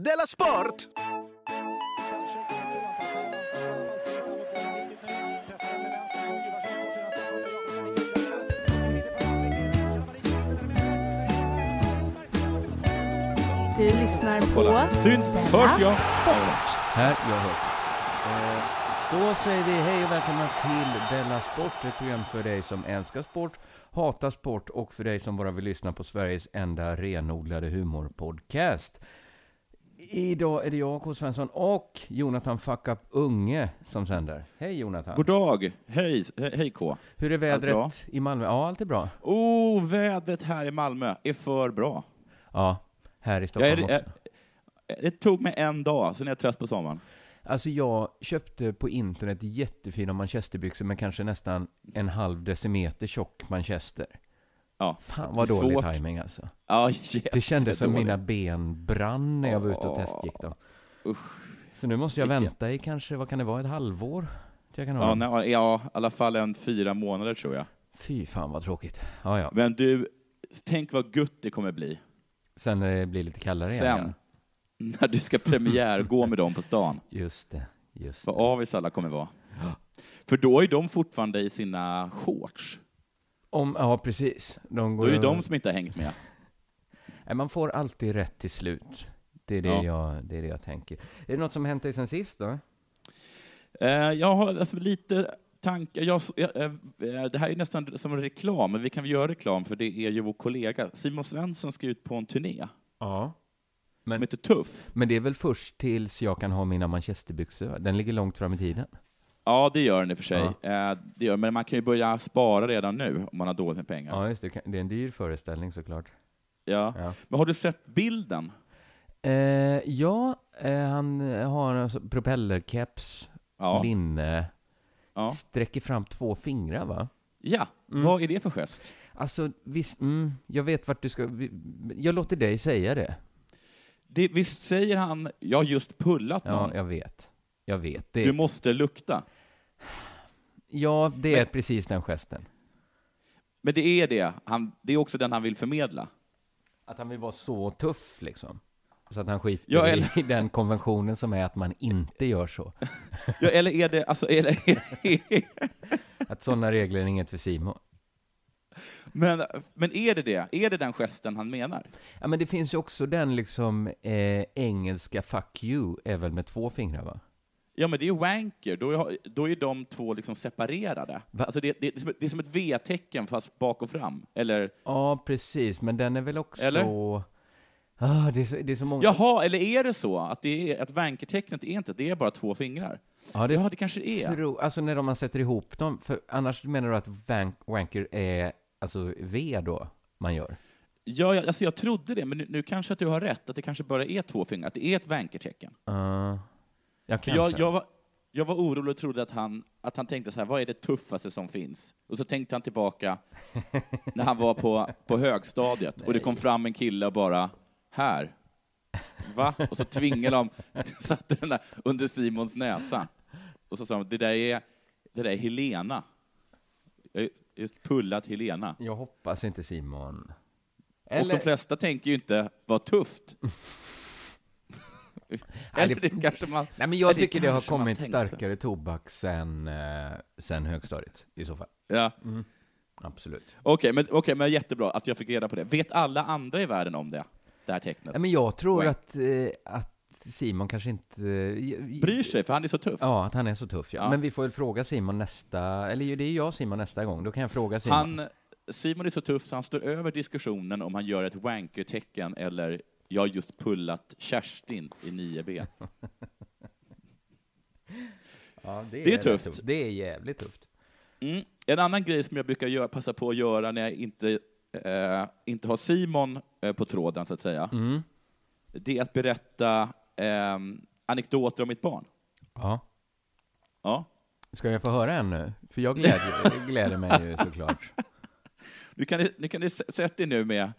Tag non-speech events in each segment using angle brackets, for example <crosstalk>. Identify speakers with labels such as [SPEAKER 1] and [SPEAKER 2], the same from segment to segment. [SPEAKER 1] Della Sport!
[SPEAKER 2] Du lyssnar på
[SPEAKER 3] Kolla. Syns. Hörs jag?
[SPEAKER 2] Sport.
[SPEAKER 4] Här, jag hör. Eh, Då säger vi hej och välkomna till Della Sport, ett program för dig som älskar sport, hatar sport och för dig som bara vill lyssna på Sveriges enda renodlade humorpodcast. Idag är det jag, K. Svensson, och Jonathan Fuck Up Unge som sänder. Hej Jonathan!
[SPEAKER 3] God dag. Hej, he- hej K.
[SPEAKER 4] Hur är
[SPEAKER 3] bra?
[SPEAKER 4] vädret i Malmö? Ja, allt är bra.
[SPEAKER 3] Oh, vädret här i Malmö är för bra.
[SPEAKER 4] Ja, här i
[SPEAKER 3] Jag
[SPEAKER 4] Stockholm
[SPEAKER 3] är, jag,
[SPEAKER 4] också.
[SPEAKER 3] det tog mig en dag, sen är jag trött på sommaren.
[SPEAKER 4] Alltså jag köpte på internet jättefina manchesterbyxor men kanske nästan en halv decimeter tjock manchester.
[SPEAKER 3] Ja,
[SPEAKER 4] Fan vad dålig
[SPEAKER 3] Svårt.
[SPEAKER 4] timing alltså.
[SPEAKER 3] ja
[SPEAKER 4] Det kändes som
[SPEAKER 3] jättedåligt.
[SPEAKER 4] mina ben brann när jag var ute och testgick dem. Så nu måste jag
[SPEAKER 3] Vilken-
[SPEAKER 4] vänta i kanske, vad kan det vara, ett halvår? Till Jag kan ha
[SPEAKER 3] Ja,
[SPEAKER 4] den.
[SPEAKER 3] nej, ja, i alla fall en fyra månader tror jag.
[SPEAKER 4] Fy fan vad tråkigt. Ja, ja.
[SPEAKER 3] Men du, tänk vad gutt det kommer bli
[SPEAKER 4] Sen när det blir lite kallare
[SPEAKER 3] sen.
[SPEAKER 4] igen.
[SPEAKER 3] När du ska premiärgå med dem på stan.
[SPEAKER 4] Just det, just
[SPEAKER 3] Vad
[SPEAKER 4] det.
[SPEAKER 3] avis alla kommer vara. För då är de fortfarande i sina shorts.
[SPEAKER 4] Om, ja, precis. De går
[SPEAKER 3] Då är det
[SPEAKER 4] och-
[SPEAKER 3] de som inte har hängt med.
[SPEAKER 4] Nej, man får alltid rätt till slut. Det är det,
[SPEAKER 3] Ja.
[SPEAKER 4] jag, det är det jag tänker. Är det något som hänt dig sen sist då?
[SPEAKER 3] Eh, jag har alltså lite tankar. Jag, jag, eh, det här är nästan som en reklam, men vi kan väl göra reklam för det är ju vår kollega. Simon Svensson ska ut på en turné
[SPEAKER 4] Ja.
[SPEAKER 3] som
[SPEAKER 4] Men,
[SPEAKER 3] heter Tuff.
[SPEAKER 4] men det är väl först tills jag kan ha mina manchesterbyxor? va? Den ligger långt fram i tiden.
[SPEAKER 3] Ja, det gör den i och för sig. Eh, det gör, men man kan ju börja spara redan nu om man har dåligt med pengar.
[SPEAKER 4] Ja, just det. Det är en dyr föreställning såklart.
[SPEAKER 3] Ja.
[SPEAKER 4] Ja.
[SPEAKER 3] Men har du sett bilden?
[SPEAKER 4] Eh, ja, eh, han har alltså propellerkeps,
[SPEAKER 3] Ja.
[SPEAKER 4] linne,
[SPEAKER 3] Ja.
[SPEAKER 4] sträcker fram två fingrar va?
[SPEAKER 3] ja.
[SPEAKER 4] Mm.
[SPEAKER 3] Vad är det för gest?
[SPEAKER 4] Alltså, visst, mm, jag vet vart du ska... vi- Jag låter dig säga det.
[SPEAKER 3] Det, visst säger han ”jag har just pullat
[SPEAKER 4] Ja,
[SPEAKER 3] någon”?
[SPEAKER 4] jag vet. Jag vet. Det,
[SPEAKER 3] Du måste lukta.
[SPEAKER 4] ja, det är
[SPEAKER 3] Men-
[SPEAKER 4] precis den gesten.
[SPEAKER 3] Men det är det. Han, det är också den han vill förmedla.
[SPEAKER 4] Att han vill vara så tuff liksom. Så att han skiter
[SPEAKER 3] Ja, eller-
[SPEAKER 4] i den konventionen som är att man inte gör så.
[SPEAKER 3] Ja, eller är det... <laughs> Alltså, eller,
[SPEAKER 4] Att sådana regler är inget för Simon.
[SPEAKER 3] Men, men är det det? Är det den gesten han menar?
[SPEAKER 4] Ja, men det finns ju också den liksom eh, engelska 'fuck you' är väl med två fingrar va?
[SPEAKER 3] Ja, men det är wanker. Då är, då är de två liksom separerade.
[SPEAKER 4] Va?
[SPEAKER 3] Alltså det, det, är som- det är som ett V-tecken fast bak och fram.
[SPEAKER 4] Mm.
[SPEAKER 3] Eller,
[SPEAKER 4] Ja, precis. Men den är väl också...
[SPEAKER 3] Eller?
[SPEAKER 4] Ah, det, är så, det är så många...
[SPEAKER 3] jaha, eller är det så att, det är, att wankertecknet är inte, det är bara två fingrar?
[SPEAKER 4] ja,
[SPEAKER 3] Ja, det kanske det är.
[SPEAKER 4] Tro, alltså när de, man sätter ihop dem. För annars menar du att wank, wanker är alltså V då man gör?
[SPEAKER 3] Ja, jag, alltså jag trodde det, men nu, nu kanske att du har rätt, att det kanske bara är två fingrar, att det är ett wankertecken.
[SPEAKER 4] Uh, jag
[SPEAKER 3] För
[SPEAKER 4] kanske.
[SPEAKER 3] Jag, jag, var, jag var orolig och trodde att han, att han tänkte så här, vad är det tuffaste som finns? Och så tänkte
[SPEAKER 4] <laughs>
[SPEAKER 3] han tillbaka när han var på, på högstadiet och det kom fram en kille och bara, här. Va? Och så tvingade de, <laughs> satte den där under Simons näsa. Och så sa de, det där är, det där är Helena. Jag har just pullat Helena.
[SPEAKER 4] Jag hoppas inte Simon.
[SPEAKER 3] Och de flesta tänker ju inte,
[SPEAKER 4] <laughs>
[SPEAKER 3] vad tufft.
[SPEAKER 4] Nej, det-
[SPEAKER 3] Eller det kanske man...
[SPEAKER 4] Nej, men jag
[SPEAKER 3] eller
[SPEAKER 4] tycker det har
[SPEAKER 3] kanske man
[SPEAKER 4] kommit
[SPEAKER 3] tänkte.
[SPEAKER 4] starkare tobak sen, eh, sen högstadiet i så fall.
[SPEAKER 3] Ja.
[SPEAKER 4] Absolut.
[SPEAKER 3] Okej, men, okay, men jättebra att jag fick reda på det. Vet alla andra i världen om det? Det här tecknet?
[SPEAKER 4] Nej, men jag tror
[SPEAKER 3] Wank.
[SPEAKER 4] att, eh, att Simon kanske inte... eh,
[SPEAKER 3] Bryr sig, för han är så tuff.
[SPEAKER 4] Ja, att han är så tuff. Ja.
[SPEAKER 3] Ja.
[SPEAKER 4] Men vi får väl fråga Simon nästa... Eller ju, det är jag Simon nästa gång. Då kan jag fråga Simon.
[SPEAKER 3] han, Simon är så tuff så han står över diskussionen om han gör ett wanker-tecken eller jag har just pullat Kerstin
[SPEAKER 4] <laughs>
[SPEAKER 3] i 9B.
[SPEAKER 4] ja,
[SPEAKER 3] det är
[SPEAKER 4] rätt
[SPEAKER 3] tufft.
[SPEAKER 4] Det är jävligt tufft.
[SPEAKER 3] Mm. En annan grej som jag brukar göra, passa på att göra när jag inte, eh, inte har Simon eh, på tråden, så att säga,
[SPEAKER 4] Mm.
[SPEAKER 3] det är att berätta eh, anekdoter om mitt barn.
[SPEAKER 4] Ja.
[SPEAKER 3] Ja.
[SPEAKER 4] Ska jag få höra en nu? För jag
[SPEAKER 3] <laughs>
[SPEAKER 4] gläder, gläder mig ju såklart.
[SPEAKER 3] Nu kan ni, nu kan ni s- sätta er nu med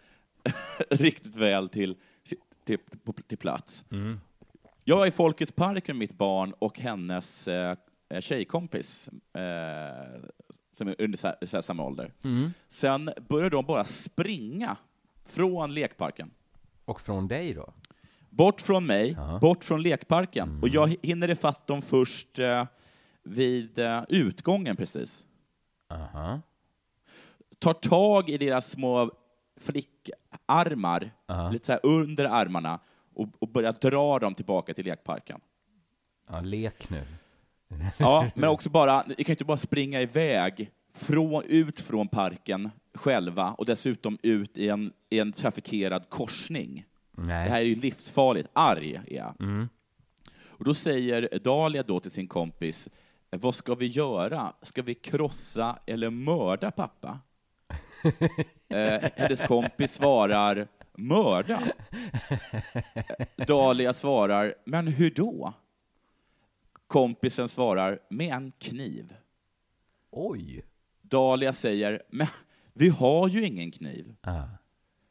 [SPEAKER 3] <laughs> riktigt väl till, till, på- till plats. Jag är i Folkets park med mitt barn och hennes eh, tjejkompis eh, som är under så här, så här samma ålder. Sen börjar de bara springa från lekparken.
[SPEAKER 4] Och från dig då?
[SPEAKER 3] Bort från mig,
[SPEAKER 4] Ja.
[SPEAKER 3] bort från lekparken. Och jag hinner ifatt dem först eh, vid eh, utgången precis.
[SPEAKER 4] Aha.
[SPEAKER 3] Tar tag i deras små flickarmar,
[SPEAKER 4] Ja.
[SPEAKER 3] lite så här under armarna, och, och börjar dra dem tillbaka till lekparken.
[SPEAKER 4] Ja, lek nu.
[SPEAKER 3] Ja, men också bara, ni kan ju inte bara springa iväg från, ut från parken själva och dessutom ut i en, i en trafikerad korsning.
[SPEAKER 4] Nej. Mm.
[SPEAKER 3] Det här är ju livsfarligt. Arg är jag. Och då säger Dahlia då till sin kompis, vad ska vi göra? Ska vi krossa eller mörda pappa? eh, hennes kompis svarar, mörda. Dahlia svarar, men hur då? Kompisen svarar, med en kniv.
[SPEAKER 4] Oj!
[SPEAKER 3] Dahlia säger, men vi har ju ingen kniv.
[SPEAKER 4] Ah.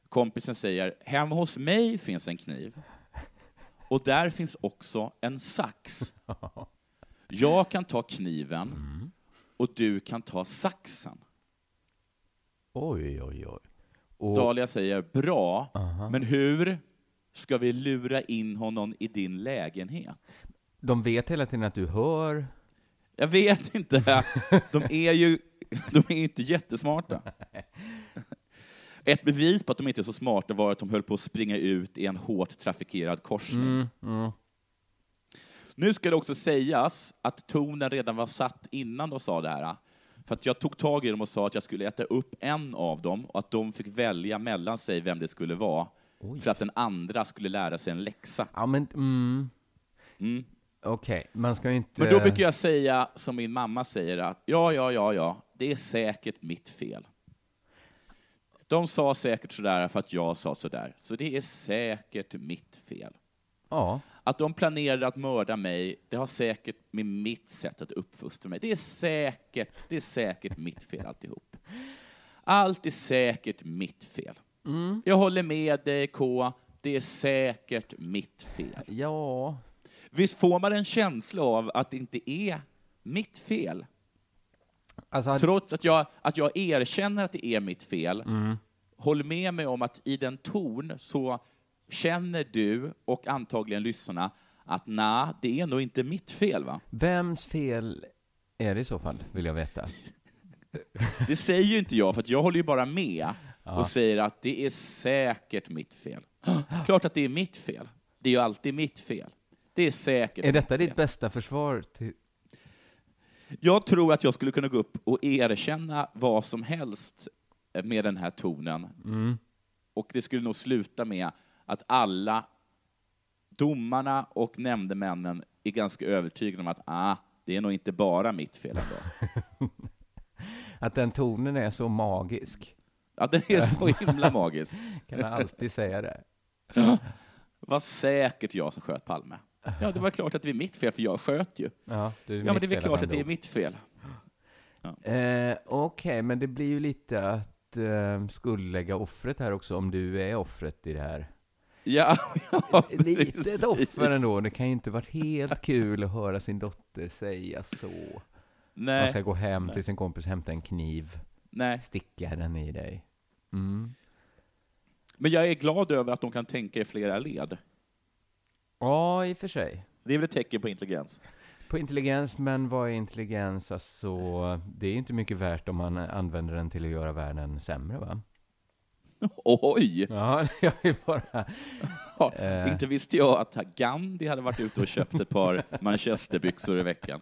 [SPEAKER 3] Kompisen säger, hemma hos mig finns en kniv. Och där finns också
[SPEAKER 4] <laughs>
[SPEAKER 3] en sax. Jag kan ta kniven
[SPEAKER 4] Mm.
[SPEAKER 3] och du kan ta saxen.
[SPEAKER 4] Oj, oj, oj. Och,
[SPEAKER 3] Dahlia säger, bra, men hur ska vi lura in honom i din lägenhet?
[SPEAKER 4] de vet hela tiden att du hör.
[SPEAKER 3] Jag vet inte. De är ju de är inte jättesmarta. Ett bevis på att de inte är så smarta var att de höll på att springa ut i en hårt trafikerad korsning. Nu ska det också sägas att tonen redan var satt innan de sa det här. För att jag tog tag i dem och sa att jag skulle äta upp en av dem och att de fick välja mellan sig vem det skulle vara. För att den andra skulle lära sig en läxa.
[SPEAKER 4] Ja, men... Mm.
[SPEAKER 3] Mm.
[SPEAKER 4] Okej, man ska ju inte...
[SPEAKER 3] Men då brukar jag säga som min mamma säger att ja, ja, ja, ja, det är säkert mitt fel. De sa säkert sådär för att jag sa sådär, så det är säkert mitt fel.
[SPEAKER 4] Ja.
[SPEAKER 3] Att de planerade att mörda mig, det har säkert med mitt sätt att uppfostra mig. Det är säkert, det är säkert mitt fel alltihop. Allt är säkert mitt fel. Jag håller med dig K, det är säkert mitt fel.
[SPEAKER 4] Ja.
[SPEAKER 3] Visst får man en känsla av att det inte är mitt fel?
[SPEAKER 4] Alltså, hade-
[SPEAKER 3] Trots att jag, att jag erkänner att det är mitt fel,
[SPEAKER 4] Mm.
[SPEAKER 3] håll med mig om att i den ton så känner du och antagligen lyssnarna att nej, det är nog inte mitt fel. va?
[SPEAKER 4] vems fel är det i så fall, vill jag <laughs> veta?
[SPEAKER 3] Det säger ju inte jag, för att jag håller ju bara med och säger att det är säkert mitt fel. Klart att det är mitt fel. Det är ju alltid mitt fel. Det är säkert
[SPEAKER 4] Är detta
[SPEAKER 3] mitt
[SPEAKER 4] ditt
[SPEAKER 3] fel.
[SPEAKER 4] bästa försvar? Till...
[SPEAKER 3] Jag tror att jag skulle kunna gå upp och erkänna vad som helst med den här tonen.
[SPEAKER 4] Mm.
[SPEAKER 3] Och det skulle nog sluta med att alla domarna och nämndemännen är ganska övertygade om att ah, det är nog inte bara mitt fel ändå.
[SPEAKER 4] Att den tonen är så magisk.
[SPEAKER 3] Ja, den är så himla magisk.
[SPEAKER 4] Kan jag <laughs> alltid säga det?
[SPEAKER 3] Vad säkert jag som sköt Palme. Ja, det var klart att det är mitt fel, för jag sköt ju.
[SPEAKER 4] Ja, det är
[SPEAKER 3] Ja, men
[SPEAKER 4] mitt
[SPEAKER 3] det är väl
[SPEAKER 4] fel
[SPEAKER 3] klart
[SPEAKER 4] han
[SPEAKER 3] att det är
[SPEAKER 4] dog.
[SPEAKER 3] mitt fel.
[SPEAKER 4] Eh, Okej, men det blir ju lite att eh, skuldlägga offret här också, om du är offret i det här.
[SPEAKER 3] Ja, <laughs> ja
[SPEAKER 4] Litet
[SPEAKER 3] precis.
[SPEAKER 4] offer ändå. Det kan ju inte varit helt kul att höra sin dotter säga så. Man
[SPEAKER 3] Nej,
[SPEAKER 4] ska gå hem till sin kompis, hämta en kniv,
[SPEAKER 3] nej.
[SPEAKER 4] sticka den i dig. Mm.
[SPEAKER 3] Men jag är glad över att de kan tänka i flera led.
[SPEAKER 4] Ja, i och för sig.
[SPEAKER 3] Det är väl ett tecken på intelligens?
[SPEAKER 4] På intelligens, men vad är intelligens? Alltså, det är inte mycket värt om man använder den till att göra världen sämre, va?
[SPEAKER 3] <laughs> Oj!
[SPEAKER 4] Ja, <laughs> jag är bara...
[SPEAKER 3] Ja,
[SPEAKER 4] Eh.
[SPEAKER 3] Inte visste jag att Gandhi hade varit ute och köpt ett <laughs> par manchesterbyxor i veckan.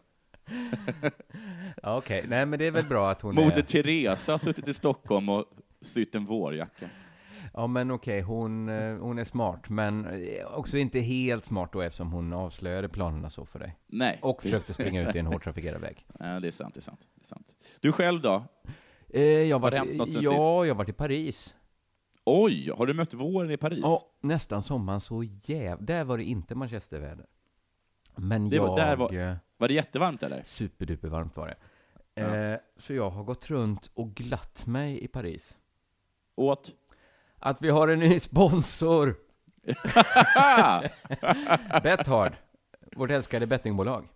[SPEAKER 4] Ja, Okej, nej men det är väl bra att hon
[SPEAKER 3] Moder
[SPEAKER 4] är...
[SPEAKER 3] Teresa har suttit i Stockholm och sytt en vårjacka.
[SPEAKER 4] Ja, men okej, hon, eh, hon är smart, men eh, också inte helt smart då eftersom hon avslöjade planerna så för dig.
[SPEAKER 3] Nej,
[SPEAKER 4] Och försökte springa ut i en hårt trafikerad väg.
[SPEAKER 3] ja, det, är sant, det, är sant, det är sant. Du själv då?
[SPEAKER 4] Eh, jag
[SPEAKER 3] Har
[SPEAKER 4] var,
[SPEAKER 3] det hänt något sen
[SPEAKER 4] ja,
[SPEAKER 3] sist?
[SPEAKER 4] jag har varit i Paris.
[SPEAKER 3] Oj, har du mött våren i Paris?
[SPEAKER 4] Ja, nästan sommaren så jäv... Där var det inte manchesterväder. Men
[SPEAKER 3] Det
[SPEAKER 4] jag...
[SPEAKER 3] var- där var-
[SPEAKER 4] eh,
[SPEAKER 3] Var det jättevarmt eller?
[SPEAKER 4] Superduper varmt var det. Eh, så jag har gått runt och glatt mig i Paris.
[SPEAKER 3] Åt?
[SPEAKER 4] Att vi har en ny <laughs> sponsor! Bethard, vårt älskade bettingbolag.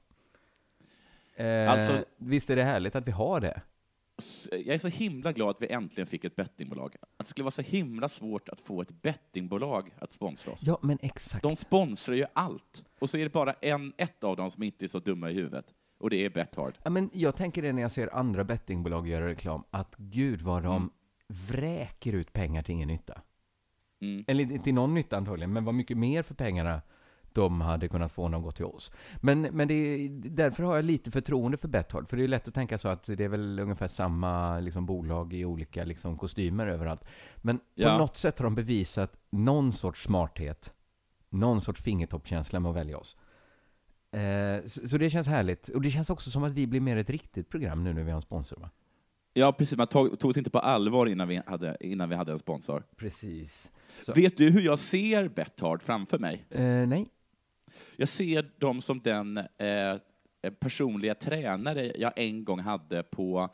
[SPEAKER 4] Eh,
[SPEAKER 3] Alltså-
[SPEAKER 4] visst är det härligt att vi har det?
[SPEAKER 3] s- jag är så himla glad att vi äntligen fick ett bettingbolag. Att det skulle vara så himla svårt att få ett bettingbolag att sponsra oss.
[SPEAKER 4] Ja, men exakt.
[SPEAKER 3] De sponsrar ju allt. Och så är det bara en, ett av dem som inte är så dumma i huvudet. Och det är Bethard.
[SPEAKER 4] Ja, men jag tänker det när jag ser andra bettingbolag göra reklam, att gud vad de vräker ut pengar till ingen nytta.
[SPEAKER 3] Mm.
[SPEAKER 4] Eller inte till någon nytta antagligen, men vad mycket mer för pengarna de hade kunnat få om de gått till oss. Men, men det, är- därför har jag lite förtroende för Betthard, för det är lätt att tänka så att det är väl ungefär samma liksom, bolag i olika liksom, kostymer överallt. Men på
[SPEAKER 3] Ja.
[SPEAKER 4] något sätt har de bevisat någon sorts smarthet, någon sorts fingertoppkänsla med att välja oss. Eh, så, så det känns härligt. Och det känns också som att vi blir mer ett riktigt program nu när vi har en sponsor, va?
[SPEAKER 3] Ja, precis. Man tog, togs inte på allvar innan vi hade, innan vi hade en sponsor.
[SPEAKER 4] Precis. Så-
[SPEAKER 3] Vet du hur jag ser Bethard framför mig?
[SPEAKER 4] Eh, nej.
[SPEAKER 3] Jag ser dem som den eh, personliga tränare jag en gång hade på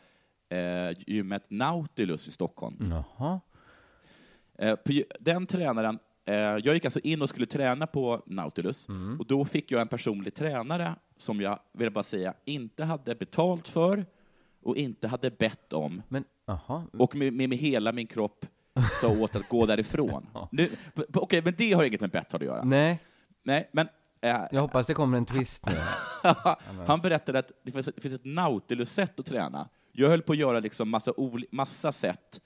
[SPEAKER 3] eh, gymmet Nautilus i Stockholm.
[SPEAKER 4] Jaha.
[SPEAKER 3] Eh, på, ju- den tränaren, eh, jag gick alltså in och skulle träna på Nautilus och då fick jag en personlig tränare som jag, vill bara säga, inte hade betalt för och inte hade bett om
[SPEAKER 4] Men, jaha.
[SPEAKER 3] och med, med, med hela min kropp sa åt att gå därifrån. Nu- p- p- Okej, men det har inget med bett att göra.
[SPEAKER 4] Nej.
[SPEAKER 3] Nej, men eh,
[SPEAKER 4] Jag hoppas det kommer en twist nu.
[SPEAKER 3] Han berättade att det finns, det finns ett Nautilus-sätt att träna. Jag höll på att göra liksom massa, oli- massa sätt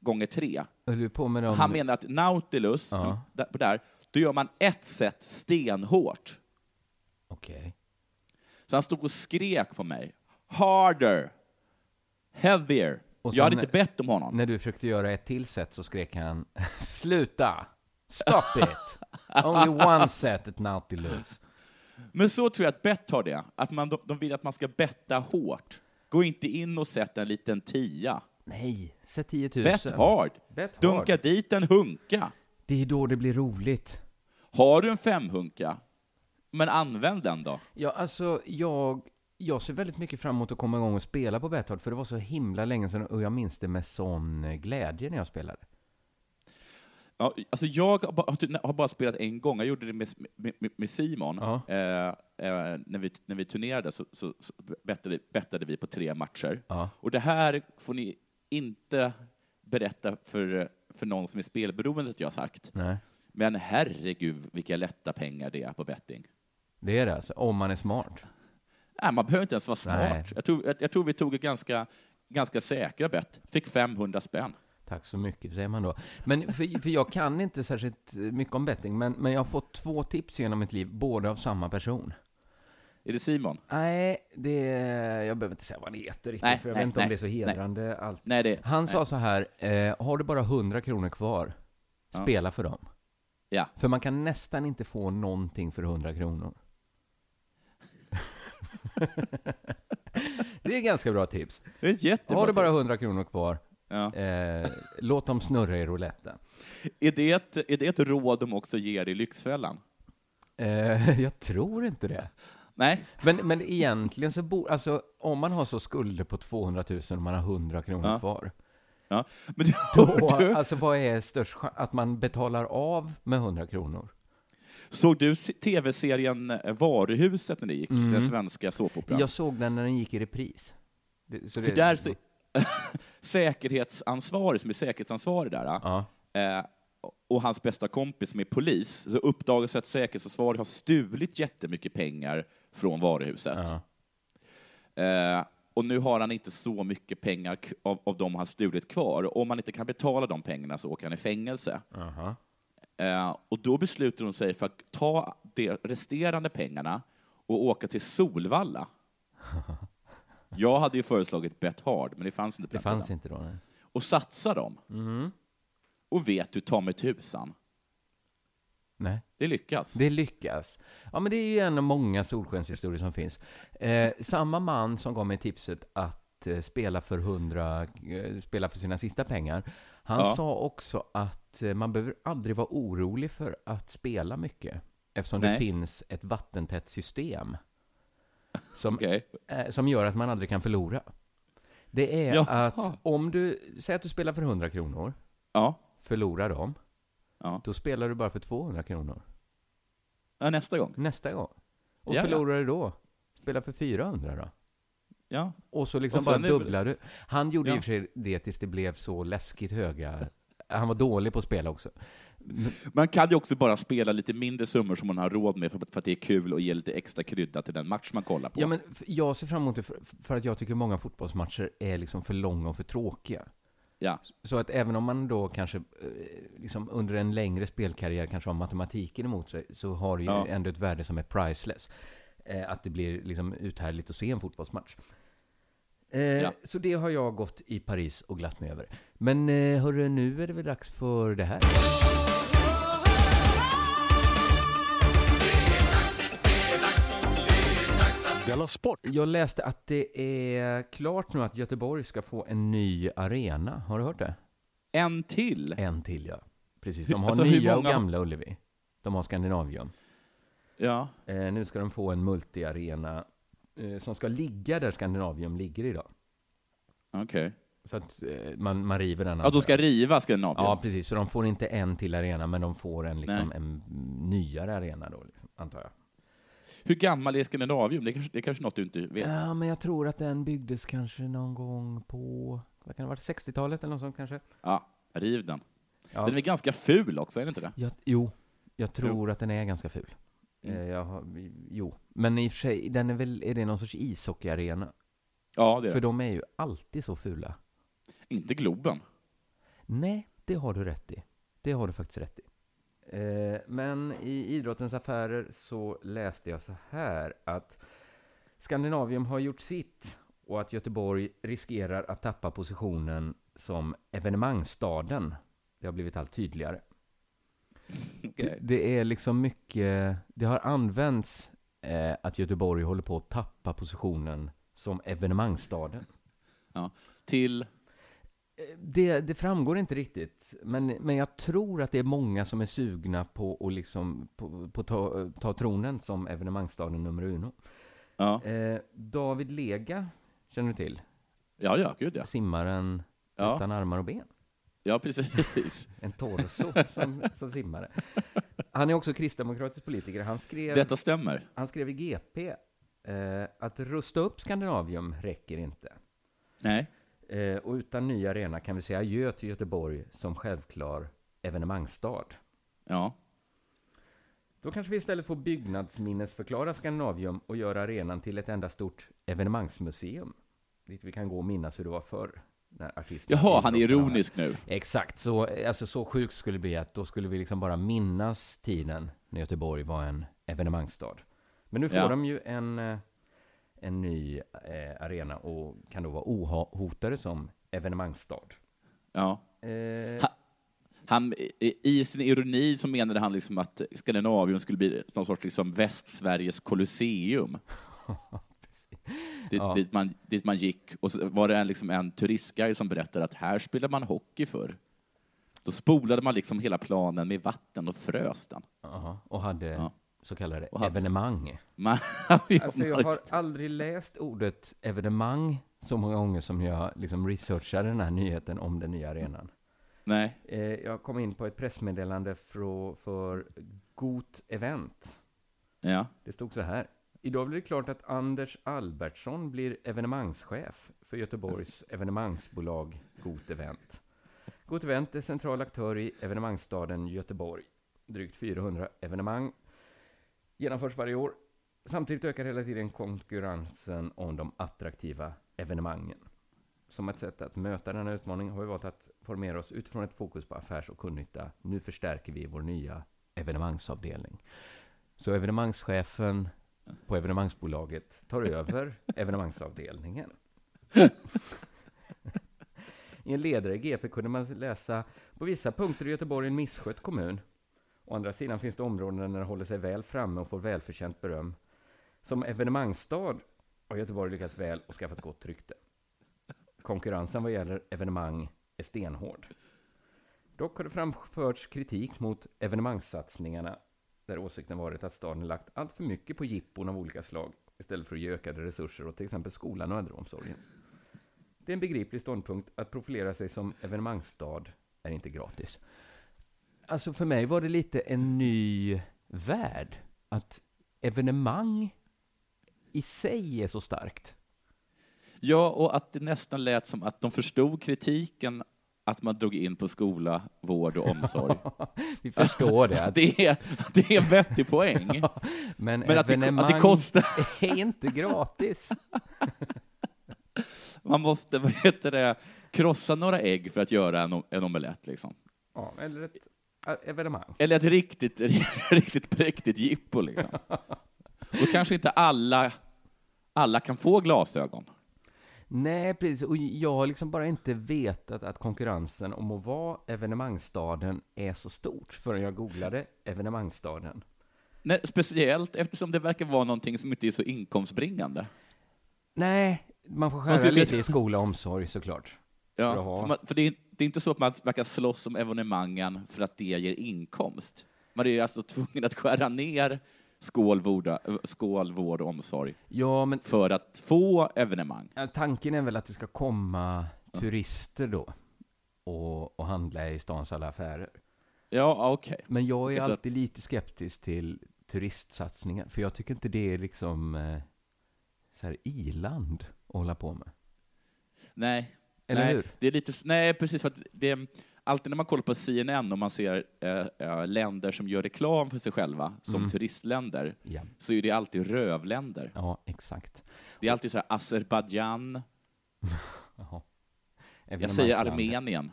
[SPEAKER 3] gånger tre.
[SPEAKER 4] Höll du på med dem?
[SPEAKER 3] Han menar att Nautilus,
[SPEAKER 4] Ja.
[SPEAKER 3] där, på där, då gör man ett sätt stenhårt.
[SPEAKER 4] Okej.
[SPEAKER 3] Så han stod och skrek på mig. Harder! Heavier!
[SPEAKER 4] Och
[SPEAKER 3] jag hade
[SPEAKER 4] sen-
[SPEAKER 3] inte bett om honom.
[SPEAKER 4] När du försökte göra ett till set så skrek han <laughs> Sluta! Stop
[SPEAKER 3] <laughs>
[SPEAKER 4] it! Only one set at Nautilus.
[SPEAKER 3] Men så tror jag att bett har det. Att man, de, de vill att man ska betta hårt. Gå inte in och sätt en liten tia.
[SPEAKER 4] Nej, sätt 10 000.
[SPEAKER 3] Bett hard.
[SPEAKER 4] Bet hard.
[SPEAKER 3] Dunka dit en hunka.
[SPEAKER 4] Det är då det blir roligt.
[SPEAKER 3] Har du en femhunka, men använd den då.
[SPEAKER 4] Ja, alltså jag, jag ser väldigt mycket fram emot att komma igång och spela på Betthard för det var så himla länge sedan och jag minns det med sån glädje när jag spelade.
[SPEAKER 3] Ja, alltså jag har bara, har bara spelat en gång. Jag gjorde det med, med, med Simon.
[SPEAKER 4] Ja.
[SPEAKER 3] Eh, eh, när, vi, när vi turnerade så, så, så bettade, bettade vi på tre matcher.
[SPEAKER 4] Ja.
[SPEAKER 3] Och det här får ni inte berätta för, för någon som är spelberoende att jag har sagt.
[SPEAKER 4] Nej,
[SPEAKER 3] Men herregud vilka lätta pengar det är på betting.
[SPEAKER 4] det är det alltså. Om man är smart.
[SPEAKER 3] Nej, man behöver inte ens vara
[SPEAKER 4] Nej.
[SPEAKER 3] smart. Jag tror, jag, jag tror vi tog ett ganska, ganska säkra bett. Fick 500 spänn.
[SPEAKER 4] Tack så mycket, säger man då. Men för, för jag kan inte särskilt mycket om betting, men, men jag har fått två tips genom mitt liv, båda av samma person.
[SPEAKER 3] Är det Simon?
[SPEAKER 4] Nej, det, jag behöver inte säga vad han heter riktigt,
[SPEAKER 3] Nej,
[SPEAKER 4] för jag
[SPEAKER 3] nej,
[SPEAKER 4] vet inte om
[SPEAKER 3] nej,
[SPEAKER 4] det är så hedrande allt.
[SPEAKER 3] Nej, det
[SPEAKER 4] Han
[SPEAKER 3] nej.
[SPEAKER 4] sa så här, eh, har du bara 100 kronor kvar,
[SPEAKER 3] Ja.
[SPEAKER 4] spela för dem.
[SPEAKER 3] Ja.
[SPEAKER 4] För man kan nästan inte få någonting för 100 kronor. <laughs> det är ganska bra tips.
[SPEAKER 3] Det är ett jättebra
[SPEAKER 4] Har du bara
[SPEAKER 3] tips.
[SPEAKER 4] 100 kronor kvar,
[SPEAKER 3] Ja.
[SPEAKER 4] eh, låt dem snurra i rouletten.
[SPEAKER 3] Är det, ett, är det ett råd de också ger i Lyxfällan?
[SPEAKER 4] Eh, <laughs> jag tror inte det.
[SPEAKER 3] Nej?
[SPEAKER 4] Men, men egentligen så bor, alltså om man har så skulder på 200 000 och man har 100 kronor
[SPEAKER 3] Ja. <laughs>
[SPEAKER 4] kvar.
[SPEAKER 3] Ja. Men
[SPEAKER 4] Då,
[SPEAKER 3] hör <laughs> du,
[SPEAKER 4] alltså vad är störst chans? Att man betalar av med 100 kronor?
[SPEAKER 3] såg du se- tv-serien eh, Varuhuset när det gick? Den svenska såpoperan?
[SPEAKER 4] Mm. Jag såg den när den gick i repris. Det, så
[SPEAKER 3] För där så... <laughs> säkerhetsansvarig, som är säkerhetsansvarig där, eh,
[SPEAKER 4] Ja.
[SPEAKER 3] eh, och hans bästa kompis som är polis, så uppdagas att säkerhetsansvarig har stulit jättemycket pengar från varuhuset.
[SPEAKER 4] Ja.
[SPEAKER 3] Eh, och nu har han inte så mycket pengar k- av, av de han stulit kvar. Om han inte kan betala de pengarna så åker han i fängelse.
[SPEAKER 4] Aha.
[SPEAKER 3] Eh, och då beslutar de sig för att ta de resterande pengarna och åka
[SPEAKER 4] <laughs>
[SPEAKER 3] till Solvalla. Jag hade ju föreslagit Bet Hard, men det fanns inte på
[SPEAKER 4] Det
[SPEAKER 3] den
[SPEAKER 4] fanns
[SPEAKER 3] tiden.
[SPEAKER 4] inte Mm. då. Nej.
[SPEAKER 3] Och satsa dem. Och vet du, ta mig tusan,
[SPEAKER 4] nej.
[SPEAKER 3] det lyckas.
[SPEAKER 4] Det lyckas. Ja, men det är ju en av många solskenshistorier som finns. Eh, samma man som gav mig tipset att eh, spela för 100, eh, spela för sina sista pengar, han
[SPEAKER 3] Ja.
[SPEAKER 4] sa också att eh, man behöver aldrig vara orolig för att spela mycket, eftersom det
[SPEAKER 3] Nej.
[SPEAKER 4] finns ett vattentätt system som,
[SPEAKER 3] Okej.
[SPEAKER 4] eh, som gör att man aldrig kan förlora. Det är
[SPEAKER 3] Jaha.
[SPEAKER 4] att om du, säg att du spelar för 100 kronor,
[SPEAKER 3] Ja.
[SPEAKER 4] förlorar dem,
[SPEAKER 3] Ja.
[SPEAKER 4] då spelar du bara för 200 kronor
[SPEAKER 3] ja, nästa gång.
[SPEAKER 4] nästa gång. Och
[SPEAKER 3] Ja, ja.
[SPEAKER 4] förlorar du då? Spela för 400 då?
[SPEAKER 3] Ja.
[SPEAKER 4] Och så liksom
[SPEAKER 3] Och sen
[SPEAKER 4] bara
[SPEAKER 3] är det väl-
[SPEAKER 4] dubblar du. Han gjorde i
[SPEAKER 3] Ja.
[SPEAKER 4] och för sig det tills det blev så läskigt höga. Han var dålig på att spela också.
[SPEAKER 3] Man kan ju också bara spela lite mindre summor som man har råd med för, för att det är kul och ger lite extra krydda till den match man kollar på.
[SPEAKER 4] Ja, men f- jag ser fram emot det för, för att jag tycker många fotbollsmatcher är liksom för långa och för tråkiga.
[SPEAKER 3] ja.
[SPEAKER 4] Så att även om man då kanske eh, liksom under en längre spelkarriär kanske har matematiken emot sig så har det ju
[SPEAKER 3] Ja.
[SPEAKER 4] ändå ett värde som är priceless. Eh, att det blir liksom uthärdligt att se en fotbollsmatch. Eh,
[SPEAKER 3] Ja.
[SPEAKER 4] Så det har jag gått i Paris och glatt mig över. Men eh, hörru, nu är det väl dags för det här.
[SPEAKER 1] Della Sport!
[SPEAKER 4] Jag läste att det är klart nu att Göteborg ska få en ny arena. Har du hört det?
[SPEAKER 3] En till!
[SPEAKER 4] En till, ja. Precis. De har
[SPEAKER 3] Alltså, hur
[SPEAKER 4] nya och
[SPEAKER 3] många-
[SPEAKER 4] gamla Ullevi. De har Skandinavium.
[SPEAKER 3] Ja.
[SPEAKER 4] Eh, nu ska de få en multiarena eh, som ska ligga där Skandinavium ligger idag.
[SPEAKER 3] Okej.
[SPEAKER 4] Så att eh, man, man river den.
[SPEAKER 3] Ja, de ska riva Skandinavien?
[SPEAKER 4] ja, precis. Så de får inte en till arena, men de får en, liksom, en nyare arena då, liksom, antar jag.
[SPEAKER 3] Hur gammal är Skandinavium? Det kanske, det kanske något du inte vet?
[SPEAKER 4] Ja, men jag tror att den byggdes kanske någon gång på, vad kan det vara, 60-talet eller något sånt kanske?
[SPEAKER 3] Ja, riv den.
[SPEAKER 4] Ja.
[SPEAKER 3] Den är ganska ful också, är den inte det?
[SPEAKER 4] Jag, jo, jag tror att den är ganska ful.
[SPEAKER 3] Mm.
[SPEAKER 4] Eh, jag har, jo, men i och för sig, den är väl, är det någon sorts ishockeyarena?
[SPEAKER 3] Ja, det är
[SPEAKER 4] För
[SPEAKER 3] den.
[SPEAKER 4] de är ju alltid så fula.
[SPEAKER 3] Inte Globen.
[SPEAKER 4] Nej, det har du rätt i. Det har du faktiskt rätt i. Eh, men i idrottens affärer så läste jag så här att Skandinavium har gjort sitt och att Göteborg riskerar att tappa positionen som evenemangsstaden. Det har blivit allt tydligare. Det, det är liksom mycket, det har använts eh, att Göteborg håller på att tappa positionen som evenemangsstaden.
[SPEAKER 3] Ja. Till...
[SPEAKER 4] Det, det framgår inte riktigt, men, men jag tror att det är många som är sugna på att liksom, på, på ta, ta tronen som evenemangsstaden nummer uno.
[SPEAKER 3] Ja,
[SPEAKER 4] Eh, David Lega, känner du till?
[SPEAKER 3] ja, ja gud ja.
[SPEAKER 4] Simmaren
[SPEAKER 3] Ja.
[SPEAKER 4] utan armar och ben. <laughs>
[SPEAKER 3] Ja, precis.
[SPEAKER 4] En torso som, som simmare. Han är också kristdemokratisk politiker. Han skrev,
[SPEAKER 3] Detta stämmer.
[SPEAKER 4] han skrev i GP eh, att rusta upp Skandinavium räcker inte.
[SPEAKER 3] Nej.
[SPEAKER 4] Eh, och utan ny arena kan vi säga adjö till Göteborg som självklar evenemangsstad.
[SPEAKER 3] Ja.
[SPEAKER 4] Då kanske vi istället får byggnadsminnesförklara Skandinavium och göra arenan till ett enda stort evenemangsmuseum. Dit vi kan gå och minnas hur det var förr. När artisterna
[SPEAKER 3] Jaha, han är
[SPEAKER 4] idrottarna-
[SPEAKER 3] ironisk nu.
[SPEAKER 4] Exakt, så, alltså, så sjukt skulle det bli att då skulle vi liksom bara minnas tiden när Göteborg var en evenemangsstad. Men nu får
[SPEAKER 3] Ja.
[SPEAKER 4] de ju en, eh, en ny eh, arena och kan då vara ohotade som evenemangsstad.
[SPEAKER 3] Ja.
[SPEAKER 4] Eh,
[SPEAKER 3] Ha- Han, i- I sin ironi så menade han liksom att Skandinavien skulle bli någon sorts liksom
[SPEAKER 4] <laughs>
[SPEAKER 3] Västsveriges Colosseum. dit,
[SPEAKER 4] Ja.
[SPEAKER 3] dit, man, dit man gick och så var det en, liksom en turistguide som berättade att här spelade man hockey förr. Då spolade man liksom hela planen med vatten och frös den. <laughs>
[SPEAKER 4] aha, och hade
[SPEAKER 3] Ja.
[SPEAKER 4] så kallade
[SPEAKER 3] Och hade-
[SPEAKER 4] evenemang.
[SPEAKER 3] Man,
[SPEAKER 4] Alltså jag har aldrig läst ordet evenemang så många gånger som jag liksom researchade den här nyheten om den nya arenan.
[SPEAKER 3] Nej,
[SPEAKER 4] Eh, jag kom in på ett pressmeddelande för, för Got Event.
[SPEAKER 3] ja.
[SPEAKER 4] Det stod så här. Idag blir det klart att Anders Albertsson blir evenemangschef för Göteborgs evenemangsbolag Got Event. Got Event är central aktör i evenemangsstaden Göteborg. Drygt 400 evenemang genomförs varje år. Samtidigt ökar hela tiden konkurrensen om de attraktiva evenemangen. Som ett sätt att möta denna utmaning har vi valt att formera oss utifrån ett fokus på affärs och kundnytta. Nu förstärker vi vår nya evenemangsavdelning. Så evenemangschefen på evenemangsbolaget tar över evenemangsavdelningen. I en ledare i GP kunde man läsa på vissa punkter är Göteborg en misskött kommun. Å andra sidan finns det områden där den håller sig väl framme och får välförtjänt beröm. Som evenemangsstad har Göteborg lyckats väl och skaffat gott rykte. Konkurrensen vad gäller evenemang är stenhård. Dock har det framförts kritik mot evenemangssatsningarna där åsikten varit att staden lagt allt för mycket på jippon av olika slag istället för att ge ökade resurser åt till exempel skolan och äldreomsorgen. Det är en begriplig ståndpunkt att profilera sig som evenemangsstad är inte gratis. Alltså för mig var det lite en ny värld. Att evenemang i sig är så starkt. <laughs>
[SPEAKER 3] Ja, och att det nästan lät som att de förstod kritiken att man drog in på skola, vård och
[SPEAKER 4] <laughs>
[SPEAKER 3] omsorg.
[SPEAKER 4] Vi förstår det.
[SPEAKER 3] Att det, är, att det är en vettig
[SPEAKER 4] <laughs>
[SPEAKER 3] poäng.
[SPEAKER 4] men,
[SPEAKER 3] Men att det, att det
[SPEAKER 4] evenemang
[SPEAKER 3] kostar.
[SPEAKER 4] <laughs> är inte gratis.
[SPEAKER 3] Man måste, vad heter det, krossa några ägg för att göra en, om- en omelett liksom.
[SPEAKER 4] <laughs> Ja, eller ett eh, evenemang.
[SPEAKER 3] Eller ett riktigt, <laughs> riktigt präktigt
[SPEAKER 4] <laughs>
[SPEAKER 3] jippo liksom. Då kanske inte alla, alla kan få glasögon.
[SPEAKER 4] Nej, precis. Och jag har liksom bara inte vetat att konkurrensen om att vara evenemangsstaden är så stort förrän jag googlade evenemangsstaden.
[SPEAKER 3] Nej, speciellt eftersom det verkar vara någonting som inte är så inkomstbringande.
[SPEAKER 4] Nej, man får
[SPEAKER 3] Man
[SPEAKER 4] skära
[SPEAKER 3] skulle-
[SPEAKER 4] lite i skola och omsorg såklart.
[SPEAKER 3] Ja,
[SPEAKER 4] För att ha.
[SPEAKER 3] för man, för det, är, det är inte så att man verkar slåss om evenemangen för att det ger inkomst. Man är ju alltså tvungen att skära ner skål, vårda, skål, vård och omsorg
[SPEAKER 4] Ja, men
[SPEAKER 3] för att få evenemang.
[SPEAKER 4] Ja, Tanken är väl att det ska komma turister då och, och handla i stans alla affärer. ah,
[SPEAKER 3] Ja, okej.
[SPEAKER 4] Men jag är
[SPEAKER 3] Okej, så
[SPEAKER 4] alltid lite skeptisk till turistsatsningar, för jag tycker inte det är liksom eh, så här iland att hålla på med.
[SPEAKER 3] Nej.
[SPEAKER 4] Eller
[SPEAKER 3] nej.
[SPEAKER 4] hur?
[SPEAKER 3] Det är lite, s- nej, precis. För att det, alltid när man kollar på CNN och man ser eh, eh, länder som gör reklam för sig själva som turistländer,
[SPEAKER 4] Ja,
[SPEAKER 3] så är det alltid rövländer.
[SPEAKER 4] Mm. ja exakt.
[SPEAKER 3] Det är alltid så här Azerbajdzjan,
[SPEAKER 4] Jaha.
[SPEAKER 3] jag säger
[SPEAKER 4] Evenemangsland.
[SPEAKER 3] Armenien.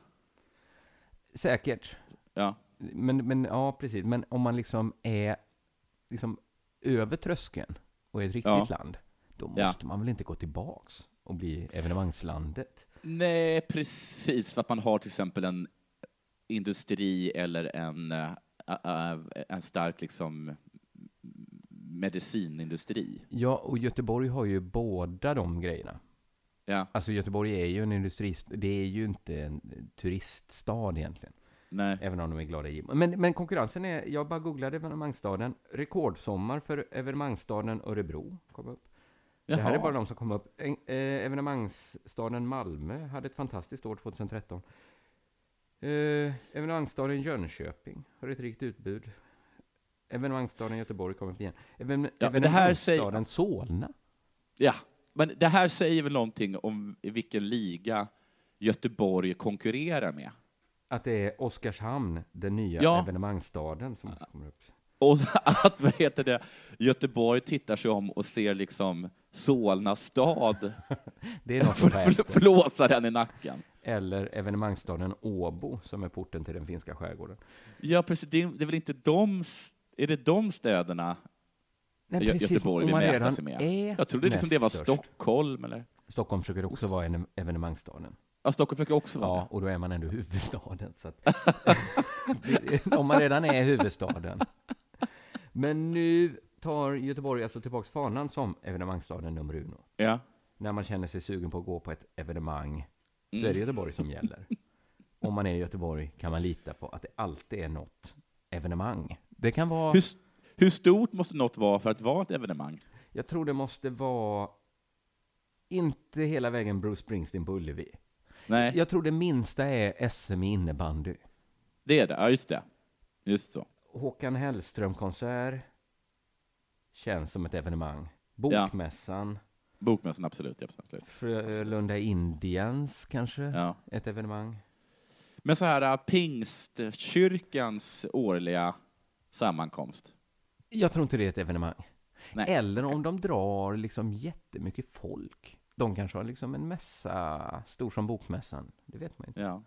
[SPEAKER 4] Säkert.
[SPEAKER 3] Ja.
[SPEAKER 4] Men, men ja, precis. Men om man liksom är liksom över tröskeln och är ett riktigt
[SPEAKER 3] Ja.
[SPEAKER 4] land, då
[SPEAKER 3] Ja.
[SPEAKER 4] måste man väl inte gå tillbaks och bli evenemangslandet?
[SPEAKER 3] Nej, precis. För att man har till exempel en industri eller en, eh, eh, en stark liksom, medicinindustri.
[SPEAKER 4] Ja, och Göteborg har ju båda de grejerna.
[SPEAKER 3] Ja,
[SPEAKER 4] Alltså Göteborg är ju en industrist, det är ju inte en turiststad egentligen.
[SPEAKER 3] nej.
[SPEAKER 4] Även om de är glada i men, men konkurrensen är, jag bara googlade evenemangsstaden, rekordsommar för evenemangsstaden Örebro kom upp. Det här är
[SPEAKER 3] Jaha.
[SPEAKER 4] bara de som kom upp. En- eh, Evenemangsstaden Malmö hade ett fantastiskt år 2013. Eh, Evenemangsstaden Jönköping har ett rikt utbud. Evenemangsstaden Göteborg kom upp igen. Even,
[SPEAKER 3] Ja, men det här säger-
[SPEAKER 4] evenemangsstaden Solna.
[SPEAKER 3] Ja, men det här säger väl någonting om i vilken liga Göteborg konkurrerar med.
[SPEAKER 4] Att det är Oskarshamn, den nya
[SPEAKER 3] Ja.
[SPEAKER 4] evenemangsstaden, som kommer upp.
[SPEAKER 3] Och <laughs> att vad heter det, Göteborg tittar sig om och ser liksom Solna stad
[SPEAKER 4] Det är något att ta efter.
[SPEAKER 3] flåsa den i nacken.
[SPEAKER 4] Eller evenemangsstaden Åbo, som är porten till den finska skärgården.
[SPEAKER 3] Ja, precis. Det är, det är väl inte de, s- är det de städerna
[SPEAKER 4] Nej,
[SPEAKER 3] Gö- Göteborg
[SPEAKER 4] om
[SPEAKER 3] vill
[SPEAKER 4] man
[SPEAKER 3] mäta
[SPEAKER 4] redan
[SPEAKER 3] sig med?
[SPEAKER 4] är
[SPEAKER 3] Jag trodde liksom
[SPEAKER 4] näst
[SPEAKER 3] det var
[SPEAKER 4] störst.
[SPEAKER 3] Stockholm, eller?
[SPEAKER 4] Stockholm försöker också vara en evenemangsstaden.
[SPEAKER 3] Ja, Stockholm försöker också vara
[SPEAKER 4] Ja, och då är man ändå huvudstaden. Så att, <laughs> Det- om man redan är huvudstaden. Men nu tar Göteborg alltså tillbaks fanan som evenemangsstaden nummer uno.
[SPEAKER 3] det. Ja.
[SPEAKER 4] När man känner sig sugen på att gå på ett evenemang så
[SPEAKER 3] Mm.
[SPEAKER 4] är det Göteborg som
[SPEAKER 3] <laughs>
[SPEAKER 4] gäller. Om man är i Göteborg kan man lita på att det alltid är något evenemang. Det kan vara...
[SPEAKER 3] Hur, s- hur stort måste något vara för att vara ett evenemang?
[SPEAKER 4] Jag tror det måste vara... Inte hela vägen Bruce Springsteen på Ullevi.
[SPEAKER 3] Nej,
[SPEAKER 4] Jag tror det minsta är SM i innebandy.
[SPEAKER 3] det är det. Ja, just det. Just så.
[SPEAKER 4] Håkan Hellström-konsert känns som ett evenemang. Bokmässan,
[SPEAKER 3] Bokmässan, absolut. Ja, absolut.
[SPEAKER 4] Frölunda Indians kanske,
[SPEAKER 3] Ja.
[SPEAKER 4] ett evenemang.
[SPEAKER 3] Men så här, äh, pingstkyrkans årliga sammankomst.
[SPEAKER 4] Jag tror inte det är ett evenemang.
[SPEAKER 3] Nej.
[SPEAKER 4] Eller om de drar liksom jättemycket folk. De kanske har liksom en mässa, stor som bokmässan. Det vet man inte.
[SPEAKER 3] Ja.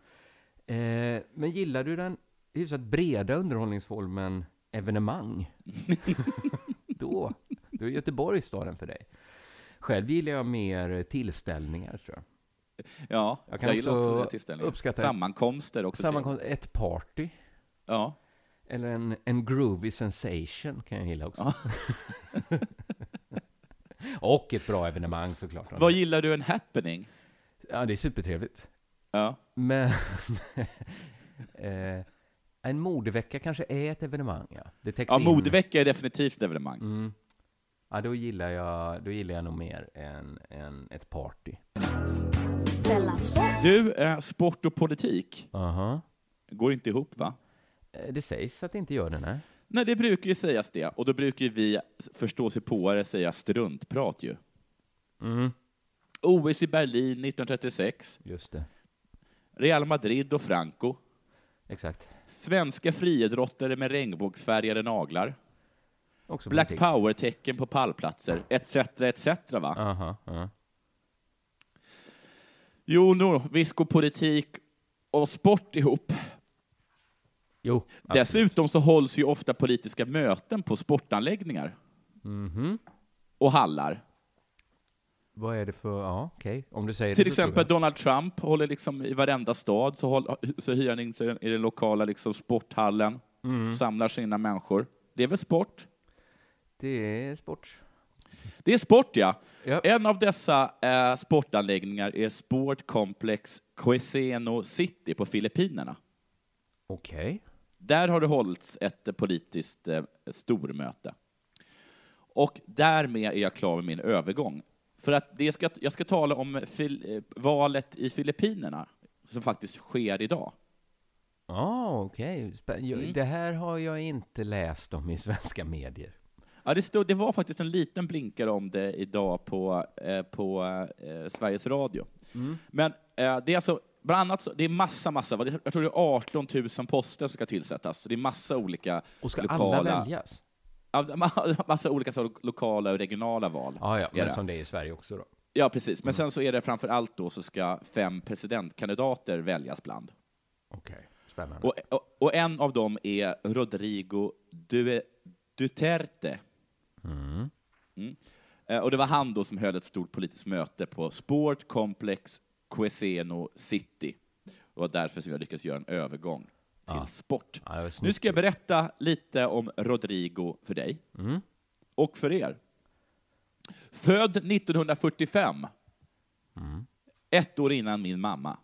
[SPEAKER 4] Eh, men gillar du den hyfsat breda underhållningsformen evenemang? <laughs> då, då är Göteborg staden för dig. Själv gillar jag mer tillställningar tror jag.
[SPEAKER 3] ja,
[SPEAKER 4] Jag
[SPEAKER 3] jag,
[SPEAKER 4] kan
[SPEAKER 3] gillar också,
[SPEAKER 4] också
[SPEAKER 3] det tillställningar.
[SPEAKER 4] uppskatta-
[SPEAKER 3] Sammankomster också.
[SPEAKER 4] Sammankomst, ett party.
[SPEAKER 3] trevligt. Ja.
[SPEAKER 4] Eller en, en groovy sensation kan jag gilla också. <laughs> Och ett bra evenemang såklart.
[SPEAKER 3] Vad gillar du en happening?
[SPEAKER 4] Ja, det är supertrevligt.
[SPEAKER 3] Ja.
[SPEAKER 4] Men <laughs> eh, en modevecka kanske är ett evenemang, ja. Det täcks
[SPEAKER 3] Ja,
[SPEAKER 4] in.
[SPEAKER 3] modevecka är definitivt ett evenemang.
[SPEAKER 4] Mm. Ja, då gillar jag, då gillar jag nog mer än, än ett party.
[SPEAKER 2] Della Sport.
[SPEAKER 3] Du, eh, sport och politik
[SPEAKER 4] Aha.
[SPEAKER 3] går inte ihop, va?
[SPEAKER 4] Eh, Det sägs att det inte gör det, nej.
[SPEAKER 3] Nej, det brukar ju sägas det. Och då brukar ju vi förstå sig på säga struntprat ju.
[SPEAKER 4] Mm.
[SPEAKER 3] OS i Berlin 1936,
[SPEAKER 4] Just det.
[SPEAKER 3] Real Madrid och Franco,
[SPEAKER 4] Exakt.
[SPEAKER 3] svenska friidrottare med regnbågsfärgade naglar,
[SPEAKER 4] Också
[SPEAKER 3] Black
[SPEAKER 4] politik.
[SPEAKER 3] power-tecken på pallplatser, etc. etc. Va?
[SPEAKER 4] Aha, ja.
[SPEAKER 3] Jo, no, visst går politik och sport ihop.
[SPEAKER 4] Jo.
[SPEAKER 3] Dessutom så hålls ju ofta politiska möten på sportanläggningar
[SPEAKER 4] Mhm.
[SPEAKER 3] och hallar.
[SPEAKER 4] Vad är det för... Ja, okej. Om du säger
[SPEAKER 3] Till
[SPEAKER 4] det så tror
[SPEAKER 3] exempel Donald Trump håller liksom i varenda stad så, håll, så hyr han in sig i den- i den lokala liksom sporthallen,
[SPEAKER 4] Mhm.
[SPEAKER 3] samlar sina människor. Det är väl sport?
[SPEAKER 4] jag. Det är sport.
[SPEAKER 3] Det är sport, ja.
[SPEAKER 4] Ja.
[SPEAKER 3] En av dessa eh, sportanläggningar är Sport Complex Quezeno City på Filippinerna.
[SPEAKER 4] Okej.
[SPEAKER 3] Där har det hållits ett eh, politiskt eh, stormöte. Och därmed är jag klar med min övergång. För att det ska, jag ska tala om fil, eh, valet i Filippinerna, som faktiskt sker idag.
[SPEAKER 4] Ja, okej. Spä- jag-
[SPEAKER 3] Mm.
[SPEAKER 4] Det här har jag inte läst om i svenska medier.
[SPEAKER 3] Ja, det, stod, det var faktiskt en liten blinkare om det idag på, eh, på eh, Sveriges Radio.
[SPEAKER 4] Mm.
[SPEAKER 3] Men eh, det är alltså, bland annat, så, det är massa, massa, vad det- jag tror det är 18 000 poster som ska tillsättas. Så det är massa olika
[SPEAKER 4] Och ska
[SPEAKER 3] lokala...
[SPEAKER 4] alla väljas?
[SPEAKER 3] Ja, ma- <laughs> Massa olika så, lokala och regionala val.
[SPEAKER 4] Ja, Ah, ja.
[SPEAKER 3] är
[SPEAKER 4] Men Mm.
[SPEAKER 3] det.
[SPEAKER 4] som det är i Sverige också då.
[SPEAKER 3] Ja, precis. Men sen så är det framför allt då så ska fem presidentkandidater väljas bland.
[SPEAKER 4] Okej. Spännande.
[SPEAKER 3] Och, och, och en av dem är Rodrigo Due- Duterte. Mm. Eh, Och det var han då som höll ett stort politiskt möte på Sport Complex Queseno City. Det var därför som jag lyckades göra en övergång till sport.
[SPEAKER 4] Ja, det var
[SPEAKER 3] nu
[SPEAKER 4] snyggt.
[SPEAKER 3] ska jag berätta lite om Rodrigo för dig och för er. Född 1945, ett år innan min mamma.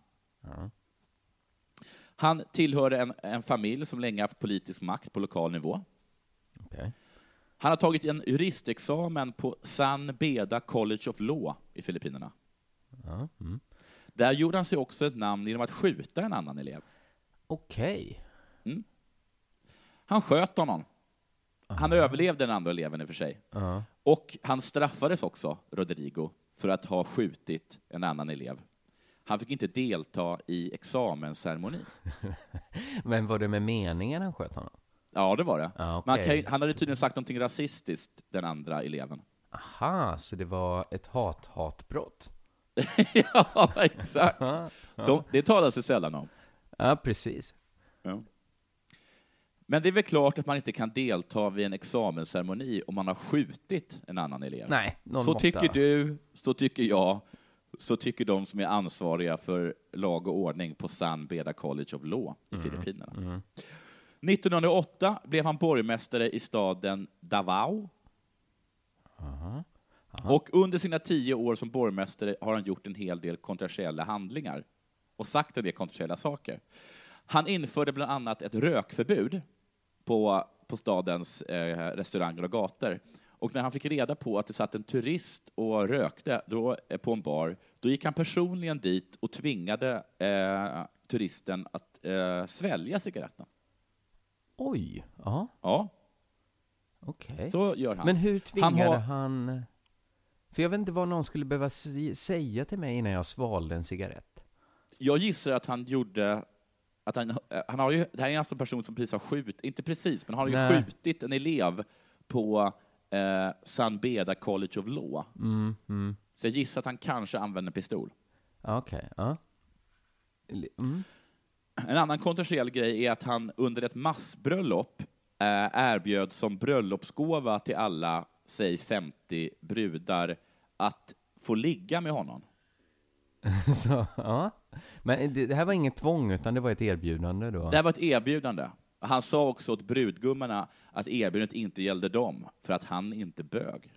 [SPEAKER 3] Han tillhörde en, en familj som länge haft politisk makt på lokal nivå.
[SPEAKER 4] Okej.
[SPEAKER 3] Han har tagit en juristexamen på San Beda College of Law i Filippinerna. Där gjorde han sig också ett namn genom att skjuta en annan elev.
[SPEAKER 4] Okej.
[SPEAKER 3] Han sköt honom. Han överlevde den andra eleven i och för sig.
[SPEAKER 4] Ja.
[SPEAKER 3] Och han straffades också, Rodrigo, för att ha skjutit en annan elev. Han fick inte delta i examensceremonin.
[SPEAKER 4] Men var det med meningen han sköt honom?
[SPEAKER 3] Ja, det var det.
[SPEAKER 4] Ja,
[SPEAKER 3] Men han,
[SPEAKER 4] okej.
[SPEAKER 3] kan, ju- han hade tydligen sagt någonting rasistiskt, den andra eleven.
[SPEAKER 4] Aha, så det var ett hat-hatbrott?
[SPEAKER 3] <laughs> ja, exakt. De, det talas det sällan om.
[SPEAKER 4] Ja, precis.
[SPEAKER 3] Men det är väl klart att man inte kan delta vid en examensceremoni om man har skjutit en annan elev.
[SPEAKER 4] Nej, någon
[SPEAKER 3] så
[SPEAKER 4] måtta.
[SPEAKER 3] tycker du, så tycker jag, så tycker de som är ansvariga för lag och ordning på San Beda College of Law i
[SPEAKER 4] Mm.
[SPEAKER 3] Filippinerna. 1908 blev han borgmästare i staden Davao. Och under sina tio år som borgmästare har han gjort en hel del kontroversiella handlingar och sagt en del kontroversiella saker. Han införde bland annat ett rökförbud på, på stadens eh, restauranger och gator. Och när han fick reda på att det satt en turist och rökte då, eh, på en bar, då gick han personligen dit och tvingade eh, turisten att eh, svälja cigaretten.
[SPEAKER 4] Oj, ja,
[SPEAKER 3] Ja,
[SPEAKER 4] okej.
[SPEAKER 3] så gör han.
[SPEAKER 4] Men hur
[SPEAKER 3] han
[SPEAKER 4] tvingade han,
[SPEAKER 3] har,
[SPEAKER 4] För jag vet inte vad någon skulle behöva si- säga till mig innan jag svalde en cigarett.
[SPEAKER 3] Jag gissar att han gjorde att han, eh, han har ju, det här är alltså en person som precis har skjutit, inte precis, men han har ju
[SPEAKER 4] Nej.
[SPEAKER 3] skjutit en elev på eh, San Beda College of Law.
[SPEAKER 4] Mm,
[SPEAKER 3] Så jag gissar att han kanske använde pistol.
[SPEAKER 4] Ja, Okej, ja. <laughs> Li- Mm.
[SPEAKER 3] En annan kontroversiell grej är att han under ett massbröllop eh, erbjöd som bröllopsgåva till alla, säg 50 brudar, att få ligga med honom.
[SPEAKER 4] Så, ja. Men det, det här var inget tvång, utan det var ett erbjudande då?
[SPEAKER 3] Det här var ett erbjudande. Han sa också åt brudgummorna att erbjudandet inte gällde dem, för att han inte bög.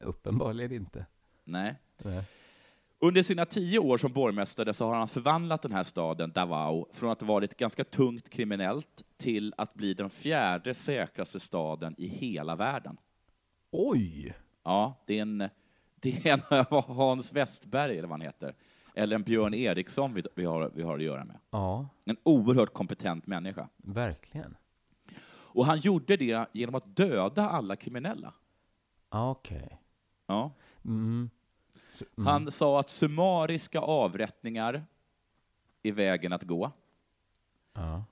[SPEAKER 4] Uppenbarligen inte.
[SPEAKER 3] Nej.
[SPEAKER 4] Nej.
[SPEAKER 3] Under sina tio år som borgmästare så har han förvandlat den här staden, Davao, från att ha varit ganska tungt kriminellt till att bli den fjärde säkraste staden i hela världen.
[SPEAKER 4] Oj!
[SPEAKER 3] Ja, det är en, det är <laughs> en Hans Westberg, eller vad han heter, eller en Björn Eriksson vi, vi, har, vi har att göra med.
[SPEAKER 4] Ja,
[SPEAKER 3] En oerhört kompetent människa.
[SPEAKER 4] verkligen.
[SPEAKER 3] Och han gjorde det genom Ah, att döda alla kriminella.
[SPEAKER 4] Ja, Okej.
[SPEAKER 3] Ja.
[SPEAKER 4] Mm.
[SPEAKER 3] Han sa att summariska avrättningar är vägen att gå.
[SPEAKER 4] Ja.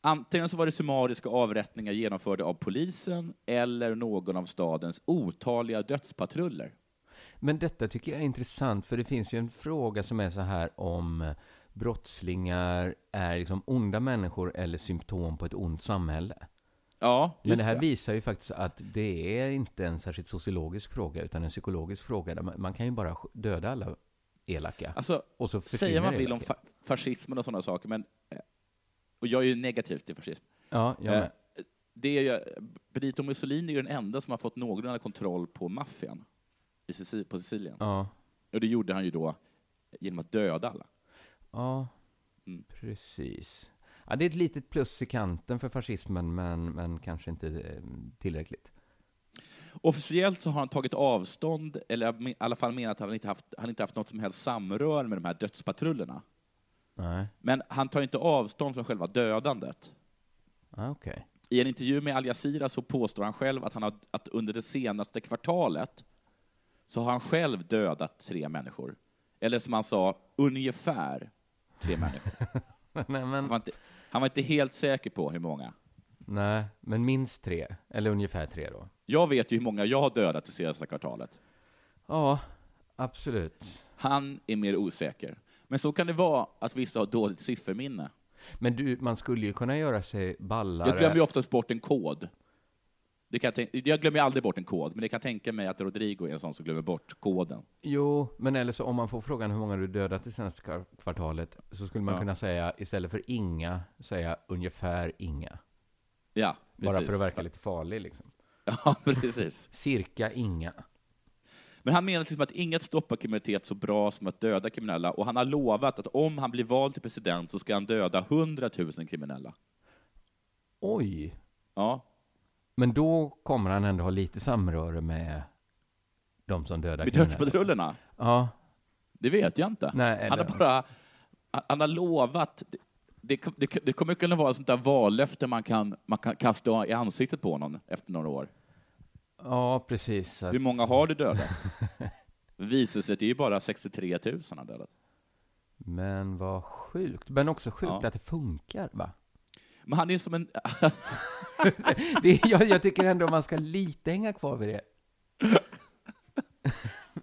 [SPEAKER 3] Antingen så var det summariska avrättningar genomförda av polisen eller någon av stadens otaliga dödspatruller.
[SPEAKER 4] Men detta tycker jag är intressant, för det finns ju en fråga som är så här om brottslingar är liksom onda människor eller symptom på ett ont samhälle.
[SPEAKER 3] Ja,
[SPEAKER 4] Men
[SPEAKER 3] just
[SPEAKER 4] det här visar ju faktiskt att det är inte en särskilt sociologisk fråga, utan en psykologisk fråga. Där man, man kan ju bara sk- döda alla elaka.
[SPEAKER 3] Alltså,
[SPEAKER 4] och så
[SPEAKER 3] Säga
[SPEAKER 4] försvinner
[SPEAKER 3] vad man vill om
[SPEAKER 4] elaka.
[SPEAKER 3] fa- fascismen och sådana saker, men, eh, och jag är ju negativ till fascism.
[SPEAKER 4] Ja, jag med.
[SPEAKER 3] Eh, Det är ju, Benito Mussolini är ju den enda som har fått någorlunda kontroll på maffian i Sicil- på Sicilien.
[SPEAKER 4] Ja,
[SPEAKER 3] Och det gjorde han ju då genom att döda alla.
[SPEAKER 4] ja
[SPEAKER 3] Mm.
[SPEAKER 4] precis. Ja, det är ett litet plus i kanten för fascismen, men, men kanske inte eh, tillräckligt.
[SPEAKER 3] Officiellt så har han tagit avstånd, eller i alla fall menat att han inte haft, han inte haft något som helst samröre med de här dödspatrullerna.
[SPEAKER 4] Nej,
[SPEAKER 3] Men han tar inte avstånd från själva dödandet.
[SPEAKER 4] ah, okej.
[SPEAKER 3] I en intervju med Al Jazeera så påstår han själv att, han har, att under det senaste kvartalet så har han själv dödat tre människor. Eller som han sa, ungefär tre människor.
[SPEAKER 4] <laughs> Nej,
[SPEAKER 3] Han var
[SPEAKER 4] men,
[SPEAKER 3] inte, han var inte helt säker på hur många.
[SPEAKER 4] nej, men minst tre, eller ungefär tre då.
[SPEAKER 3] Jag vet ju hur många jag har dödat det senaste kvartalet.
[SPEAKER 4] Ja, absolut.
[SPEAKER 3] Han är mer osäker. Men så kan det vara att vissa har dåligt sifferminne.
[SPEAKER 4] Men du, man skulle ju kunna göra sig ballare.
[SPEAKER 3] Jag glömmer ju oftast bort en kod. Det kan jag, tänka, jag glömmer ju aldrig bort en kod, men jag kan tänka mig att Rodrigo är en sån som glömmer bort koden.
[SPEAKER 4] Jo, men eller så om man får frågan hur många du dödat det senaste kvar- kvartalet så skulle man
[SPEAKER 3] Ja.
[SPEAKER 4] kunna säga istället för inga, säga ungefär inga.
[SPEAKER 3] Ja,
[SPEAKER 4] Bara
[SPEAKER 3] precis.
[SPEAKER 4] för att verka lite farlig liksom.
[SPEAKER 3] <laughs> Ja, precis.
[SPEAKER 4] Cirka inga.
[SPEAKER 3] Men han menar liksom att inget stoppar kriminalitet så bra som att döda kriminella, och han har lovat att om han blir vald till president så ska han döda 100 000 kriminella.
[SPEAKER 4] Oj!
[SPEAKER 3] Ja,
[SPEAKER 4] Men då kommer han ändå ha lite samröre med de som dödar
[SPEAKER 3] med
[SPEAKER 4] kriminella.
[SPEAKER 3] dödspatrullerna?
[SPEAKER 4] Ja,
[SPEAKER 3] Det vet jag inte.
[SPEAKER 4] Nej, eller-
[SPEAKER 3] han har bara han har lovat. Det, det, det kommer kunna vara ett sånt där vallöfte man kan, man kan kasta i ansiktet på någon efter några år.
[SPEAKER 4] ja precis. Att-
[SPEAKER 3] Hur många har
[SPEAKER 4] <laughs>
[SPEAKER 3] du dödat? Visar sig att det är ju bara 63 000 han har dödat.
[SPEAKER 4] Men vad sjukt. Men också sjukt
[SPEAKER 3] Ja.
[SPEAKER 4] att det funkar, va?
[SPEAKER 3] Men han är som en...
[SPEAKER 4] Det, är- jag, jag tycker ändå man ska lite hänga kvar
[SPEAKER 3] <laughs>
[SPEAKER 4] vid det.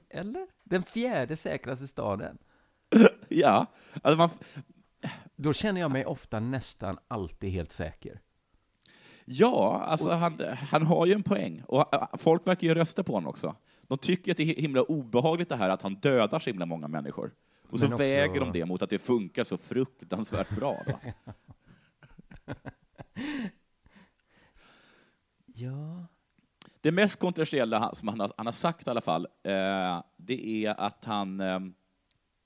[SPEAKER 4] Eller? Den fjärde säkraste staden.
[SPEAKER 3] ja, alltså man,
[SPEAKER 4] Då känner jag mig ofta nästan alltid helt säker.
[SPEAKER 3] ja alltså han, han har ju en poäng. Och äh, folk verkar ju rösta på honom också. De tycker att det är himla obehagligt det här att han dödar så himla många människor. Och så
[SPEAKER 4] Men också-
[SPEAKER 3] väger de det mot att det funkar så fruktansvärt bra. Va?
[SPEAKER 4] Ja.
[SPEAKER 3] Det mest kontroversiella han- som han har, han har sagt i alla fall, eh, det är att han ehm,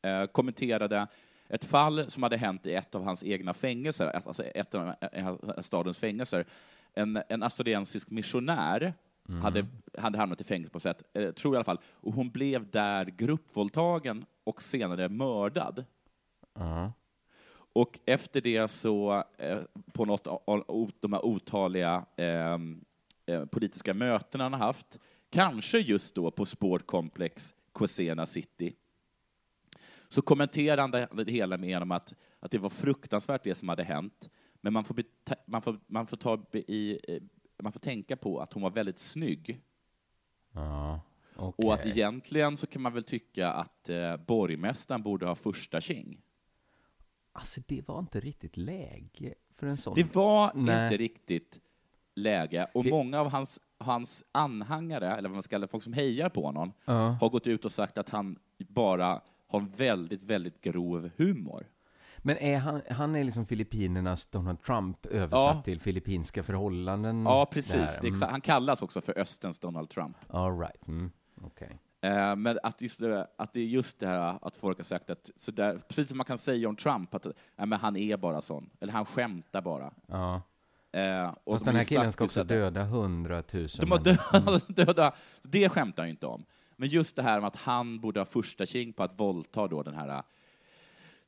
[SPEAKER 3] eh, kommenterade ett fall som hade hänt i ett av hans egna fängelser, ett- alltså ett av eh, stadens fängelser. En, en australiensisk missionär hade, hade hamnat i fängelse på sätt, eh, tror jag i alla fall, och hon blev där gruppvåldtagen och senare mördad.
[SPEAKER 4] Ja.
[SPEAKER 3] Och efter det så, eh, på något av- av o- de här otaliga ehm, eh, politiska mötena han har haft, kanske just då på Sportkomplex Cosena City, så kommenterar han det det hela med genom att, att det var fruktansvärt det som hade hänt, men man får, beta- man får, man får, ta be- i, eh, man får tänka på att hon var väldigt snygg.
[SPEAKER 4] ja.
[SPEAKER 3] Och att
[SPEAKER 4] okej.
[SPEAKER 3] egentligen så kan man väl tycka att eh, borgmästaren borde ha första tjing.
[SPEAKER 4] Alltså, det var inte riktigt läge för en sån.
[SPEAKER 3] Det var
[SPEAKER 4] Nej.
[SPEAKER 3] inte riktigt läge, och
[SPEAKER 4] Det-
[SPEAKER 3] många av hans, hans anhängare, eller vad man ska kalla det, folk som hejar på honom,
[SPEAKER 4] Ja.
[SPEAKER 3] har gått ut och sagt att han bara har en väldigt, väldigt grov humor.
[SPEAKER 4] Mm. Men är han, han är liksom Filippinernas Donald Trump översatt
[SPEAKER 3] Ja.
[SPEAKER 4] till filippinska förhållanden?
[SPEAKER 3] Ja, precis.
[SPEAKER 4] där.
[SPEAKER 3] Det är
[SPEAKER 4] Mm.
[SPEAKER 3] exa- Han kallas också för Österns Donald Trump.
[SPEAKER 4] All right. Mm. Okej.
[SPEAKER 3] Eh, men att, just det, att det är just det här att folk har sagt att, så där, precis som man kan säga om Trump, att nej, men han är bara sån, eller han skämtar bara.
[SPEAKER 4] Ja.
[SPEAKER 3] Eh, och
[SPEAKER 4] Fast
[SPEAKER 3] de har
[SPEAKER 4] den här
[SPEAKER 3] ju
[SPEAKER 4] killen
[SPEAKER 3] sagt
[SPEAKER 4] ska
[SPEAKER 3] just
[SPEAKER 4] också
[SPEAKER 3] att det-
[SPEAKER 4] döda hundratusen.
[SPEAKER 3] De har
[SPEAKER 4] människor.
[SPEAKER 3] döda, <laughs> döda, det skämtar jag inte om. Men just det här med att han borde ha första king på att våldta då den här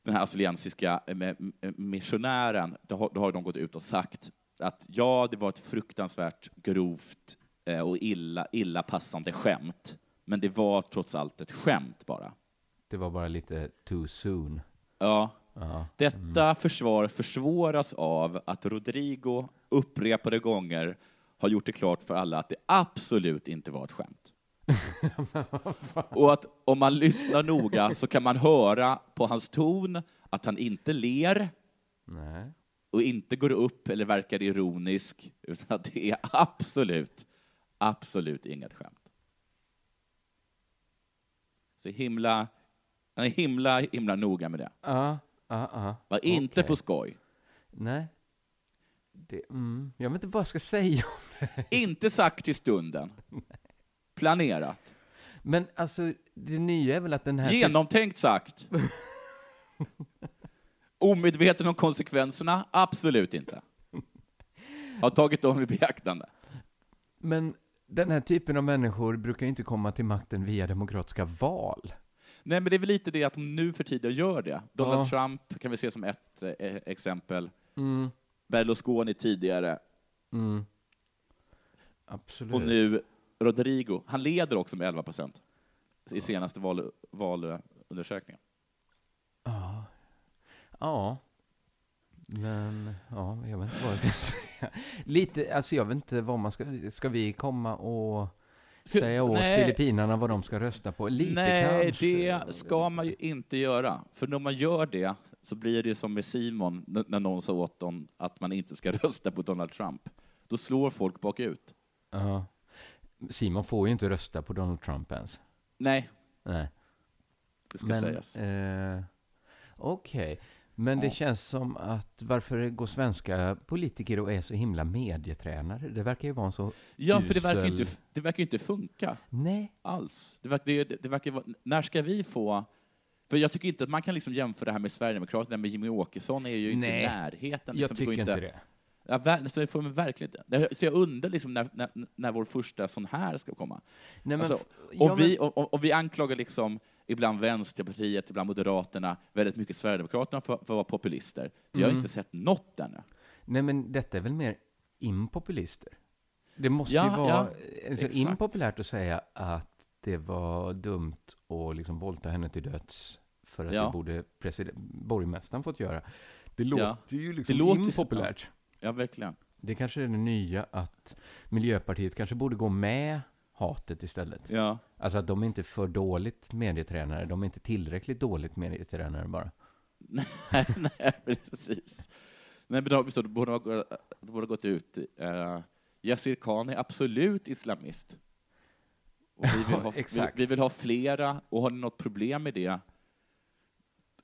[SPEAKER 3] den här australiensiska eh, me- eh, missionären, då har, då har de gått ut och sagt att ja, det var ett fruktansvärt grovt eh, och illa, illa passande skämt, men det var trots allt ett skämt bara.
[SPEAKER 4] Det var bara lite too soon.
[SPEAKER 3] Ja.
[SPEAKER 4] Ja.
[SPEAKER 3] Detta försvar försvåras av att Rodrigo upprepade gånger har gjort det klart för alla att det absolut inte var ett skämt. Och att om man lyssnar noga så kan man höra på hans ton att han inte ler
[SPEAKER 4] Nej.
[SPEAKER 3] och inte går upp eller verkar ironisk, utan att det är absolut, absolut inget skämt. Så himla, han är himla, himla noga med det.
[SPEAKER 4] Ja, ja, ja.
[SPEAKER 3] Var inte
[SPEAKER 4] Okej.
[SPEAKER 3] på skoj.
[SPEAKER 4] Nej. Det, mm. Jag vet inte vad jag ska säga <laughs> om det.
[SPEAKER 3] Inte sagt till stunden. Planerat.
[SPEAKER 4] Men alltså, det nya är väl att den här... typ-
[SPEAKER 3] Genomtänkt sagt. Omedveten om konsekvenserna? Absolut inte. Har tagit dem i beaktande.
[SPEAKER 4] Men den här typen av människor brukar ju inte komma till makten via demokratiska val.
[SPEAKER 3] Nej, men det är väl lite det att de nu för tiden gör det. Donald
[SPEAKER 4] Ja.
[SPEAKER 3] Trump kan vi se som ett eh, exempel.
[SPEAKER 4] Mm,
[SPEAKER 3] Berlusconi tidigare
[SPEAKER 4] Absolut.
[SPEAKER 3] och nu Rodrigo. Han leder också med 11 procent i senaste val, valundersökningen.
[SPEAKER 4] Ja. Ja. Men, ja, jag vet inte vad jag ska <laughs> säga. Lite, alltså jag vet inte vad man ska... Ska vi komma och säga åt
[SPEAKER 3] <laughs> Nej.
[SPEAKER 4] Filippinerna vad de ska rösta på? Lite
[SPEAKER 3] Nej,
[SPEAKER 4] kanske.
[SPEAKER 3] det ska man ju inte göra. För när man gör det så blir det ju som med Simon, n- när någon sa åt dem att man inte ska <laughs> rösta på Donald Trump. Då slår folk bakut.
[SPEAKER 4] Ja. Simon får ju inte rösta på Donald Trump ens.
[SPEAKER 3] Nej,
[SPEAKER 4] Nej.
[SPEAKER 3] det ska sägas.
[SPEAKER 4] Eh, Okej. Men det
[SPEAKER 3] Ja.
[SPEAKER 4] känns som att varför går svenska politiker och är så himla medietränare? Det verkar ju vara en så
[SPEAKER 3] Ja, för det verkar ju
[SPEAKER 4] usel-
[SPEAKER 3] inte, det verkar ju inte funka
[SPEAKER 4] Nej.
[SPEAKER 3] alls. Det verkar, det, det verkar vara, när ska vi få... För jag tycker inte att man kan liksom jämföra det här med Sverigedemokraterna, men Jimmy Åkesson är ju inte
[SPEAKER 4] Nej,
[SPEAKER 3] i närheten.
[SPEAKER 4] Jag
[SPEAKER 3] liksom. går
[SPEAKER 4] tycker inte det.
[SPEAKER 3] Ja, ver- så det får man verkligen inte. Så jag undrar liksom när, när, när vår första sån här ska komma.
[SPEAKER 4] Nej, men
[SPEAKER 3] Alltså,
[SPEAKER 4] f- ja,
[SPEAKER 3] om, vi, om, om vi anklagar liksom ibland Vänsterpartiet, ibland Moderaterna, väldigt mycket Sverigedemokraterna för, för att vara populister. Vi
[SPEAKER 4] Mm.
[SPEAKER 3] har inte sett något ännu.
[SPEAKER 4] Nej, men detta är väl mer impopulister? Det måste
[SPEAKER 3] Ja,
[SPEAKER 4] ju vara
[SPEAKER 3] ja,
[SPEAKER 4] alltså,
[SPEAKER 3] exakt.
[SPEAKER 4] impopulärt att säga att det var dumt att liksom våldta henne till döds för att
[SPEAKER 3] Ja.
[SPEAKER 4] det borde president, borgmästaren fått göra. Det låter ju liksom
[SPEAKER 3] Det låter-
[SPEAKER 4] impopulärt.
[SPEAKER 3] Ja, verkligen.
[SPEAKER 4] Det kanske är det nya att Miljöpartiet kanske borde gå med hatet istället.
[SPEAKER 3] Ja.
[SPEAKER 4] Alltså att de är inte för dåligt medietränare, de är inte tillräckligt dåligt medietränare bara.
[SPEAKER 3] <laughs> Nej, nej, precis. Nej, men då, då borde ha gå- då borde ha gått ut eh, Yassir Khan är absolut islamist. Och vi, vill ha, vi,
[SPEAKER 4] exakt.
[SPEAKER 3] vi vill ha flera, och har ni något problem med det,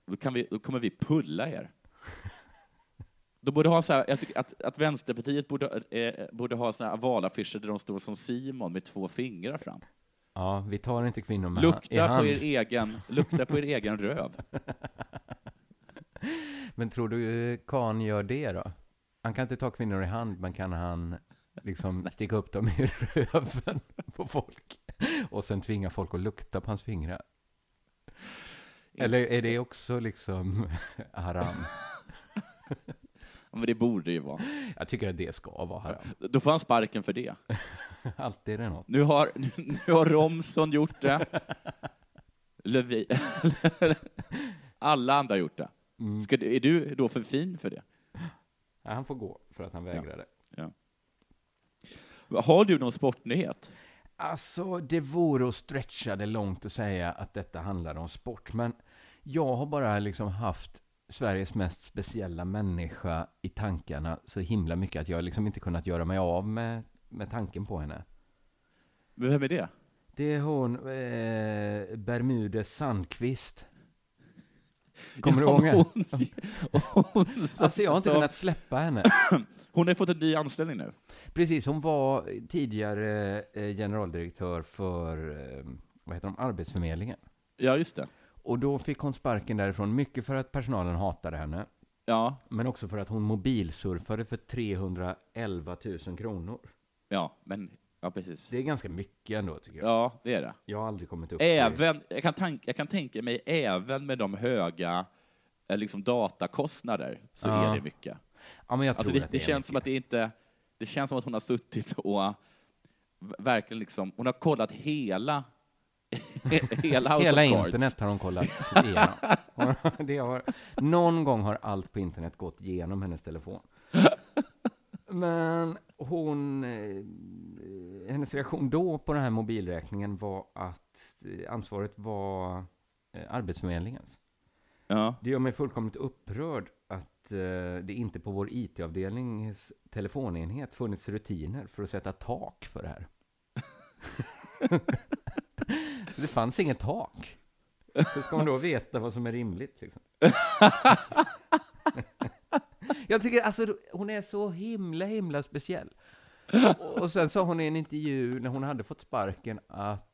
[SPEAKER 3] då, kan vi, då kommer vi pulla er. Då borde ha så här, jag tycker att, att Vänsterpartiet borde, eh, borde ha såna här valaffischer där de står som Simon med två fingrar fram.
[SPEAKER 4] Ja, vi tar inte kvinnor med i
[SPEAKER 3] Lukta på,
[SPEAKER 4] hand.
[SPEAKER 3] er egen, lukta på er egen röv.
[SPEAKER 4] Men tror du eh, Kahn gör det då? Han kan inte ta kvinnor i hand, men kan han liksom sticka upp dem i <laughs> röven på folk? Och sen tvinga folk att lukta på hans fingrar? Eller är det också liksom <laughs> haram?
[SPEAKER 3] Ja, Men det borde ju vara.
[SPEAKER 4] Jag tycker att det ska vara haram.
[SPEAKER 3] Då får han sparken för det.
[SPEAKER 4] Alltid är det något.
[SPEAKER 3] Nu har, <laughs> nu har Romson gjort det. Löfven. <laughs> Alla andra har gjort det. Ska, du- är du då för fin för det?
[SPEAKER 4] Ja, han får gå för att han vägrade.
[SPEAKER 3] Har du någon sportnyhet?
[SPEAKER 4] Alltså, det vore att stretcha det långt att säga att detta handlar om sport, men jag har bara liksom haft Sveriges mest speciella människa i tankarna så himla mycket att jag liksom inte kunnat göra mig av med, med tanken på henne.
[SPEAKER 3] Men Vem är det?
[SPEAKER 4] Det är hon, eh, Bermudes Sandqvist. Kommer du
[SPEAKER 3] Ja,
[SPEAKER 4] ihåg henne?
[SPEAKER 3] hon, hon, som-
[SPEAKER 4] Alltså jag har inte
[SPEAKER 3] som-
[SPEAKER 4] kunnat släppa henne.
[SPEAKER 3] hon har fått en ny anställning nu.
[SPEAKER 4] Precis, hon var tidigare eh, generaldirektör för, eh, vad heter de, Arbetsförmedlingen.
[SPEAKER 3] Ja, just det.
[SPEAKER 4] Och då fick hon sparken därifrån, mycket för att personalen hatade henne,
[SPEAKER 3] Ja,
[SPEAKER 4] men också för att hon mobilsurfade för 311 000 kronor.
[SPEAKER 3] ja, men ja, precis.
[SPEAKER 4] Det är ganska mycket ändå, tycker jag.
[SPEAKER 3] Ja, det är det.
[SPEAKER 4] Jag har aldrig kommit upp till...
[SPEAKER 3] Även, jag, kan tank, jag kan tänka mig även med de höga eh, liksom, datakostnader så
[SPEAKER 4] Ja.
[SPEAKER 3] är det mycket.
[SPEAKER 4] Ja, men jag
[SPEAKER 3] Alltså
[SPEAKER 4] tror
[SPEAKER 3] det, det,
[SPEAKER 4] att det, är
[SPEAKER 3] känns
[SPEAKER 4] mycket.
[SPEAKER 3] som att det inte... Det känns som att hon har suttit och v- verkligen liksom... Hon har kollat hela <laughs> Hela House
[SPEAKER 4] Hela
[SPEAKER 3] of Cards.
[SPEAKER 4] internet har hon kollat igenom. <laughs> det har, någon gång har allt på internet gått igenom hennes
[SPEAKER 3] <laughs>
[SPEAKER 4] telefon. Men hon, eh, hennes reaktion då på den här mobilräkningen var att eh, ansvaret var eh, Arbetsförmedlingens.
[SPEAKER 3] Ja.
[SPEAKER 4] Det gör mig fullkomligt upprörd att eh, det inte på vår IT-avdelnings telefonenhet funnits rutiner för att sätta tak för det här. <laughs> Så det fanns inget tak. Hur ska man då veta vad som är rimligt? Liksom? <laughs> Jag tycker alltså, hon är så himla, himla speciell. Och- Och sen sa hon i en intervju när hon hade fått sparken att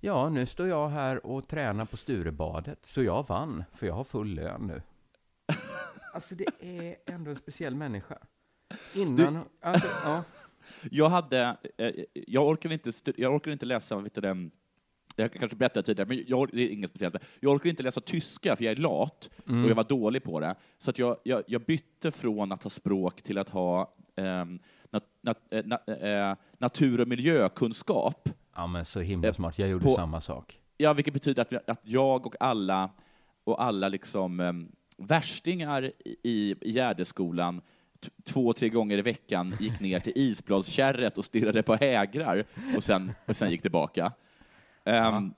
[SPEAKER 4] Ja, nu står jag här och tränar på Sturebadet, så jag vann, för jag har full lön nu. <laughs> Alltså, det är ändå en speciell människa. Innan... Alltså, ja.
[SPEAKER 3] Jag hade, eh, jag orkar inte, stu- jag orkar inte läsa, vet du den, jag kanske berättade tidigare, men jag, det är inget speciellt. Jag orkar inte läsa tyska för jag är lat och
[SPEAKER 4] Mm.
[SPEAKER 3] jag var dålig på det. Så att jag, jag, jag bytte från att ha språk till att ha ehm, nat, nat, eh, na, eh, natur och miljökunskap.
[SPEAKER 4] ja, men så himla smart. Jag gjorde
[SPEAKER 3] På-
[SPEAKER 4] samma sak.
[SPEAKER 3] Ja, vilket betyder att, vi- att jag och alla, och alla liksom, ehm, värstingar i- i i Gärdeskolan t- två, tre gånger i veckan gick ner till isbladskärret och stirrade på hägrar och sen, och sen gick tillbaka. Ehm, Men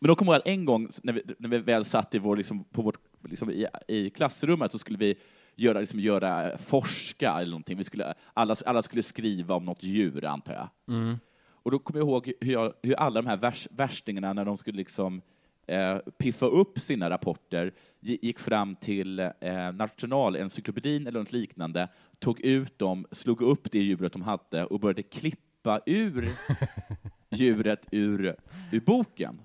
[SPEAKER 3] då kommer jag ihåg att en gång när vi, när vi väl satt i, vår, liksom, på vårt, liksom, i, i klassrummet så skulle vi göra, liksom, göra forska eller någonting. Vi skulle, alla, alla skulle skriva om något djur, antar jag. Och då kommer jag ihåg hur, jag, hur alla de här värs, värstingarna, när de skulle liksom, eh, piffa upp sina rapporter, gi- gick fram till eh, Nationalencyklopedin eller något liknande, tog ut dem, slog upp det djuret de hade och började klippa ur djuret ur, ur boken.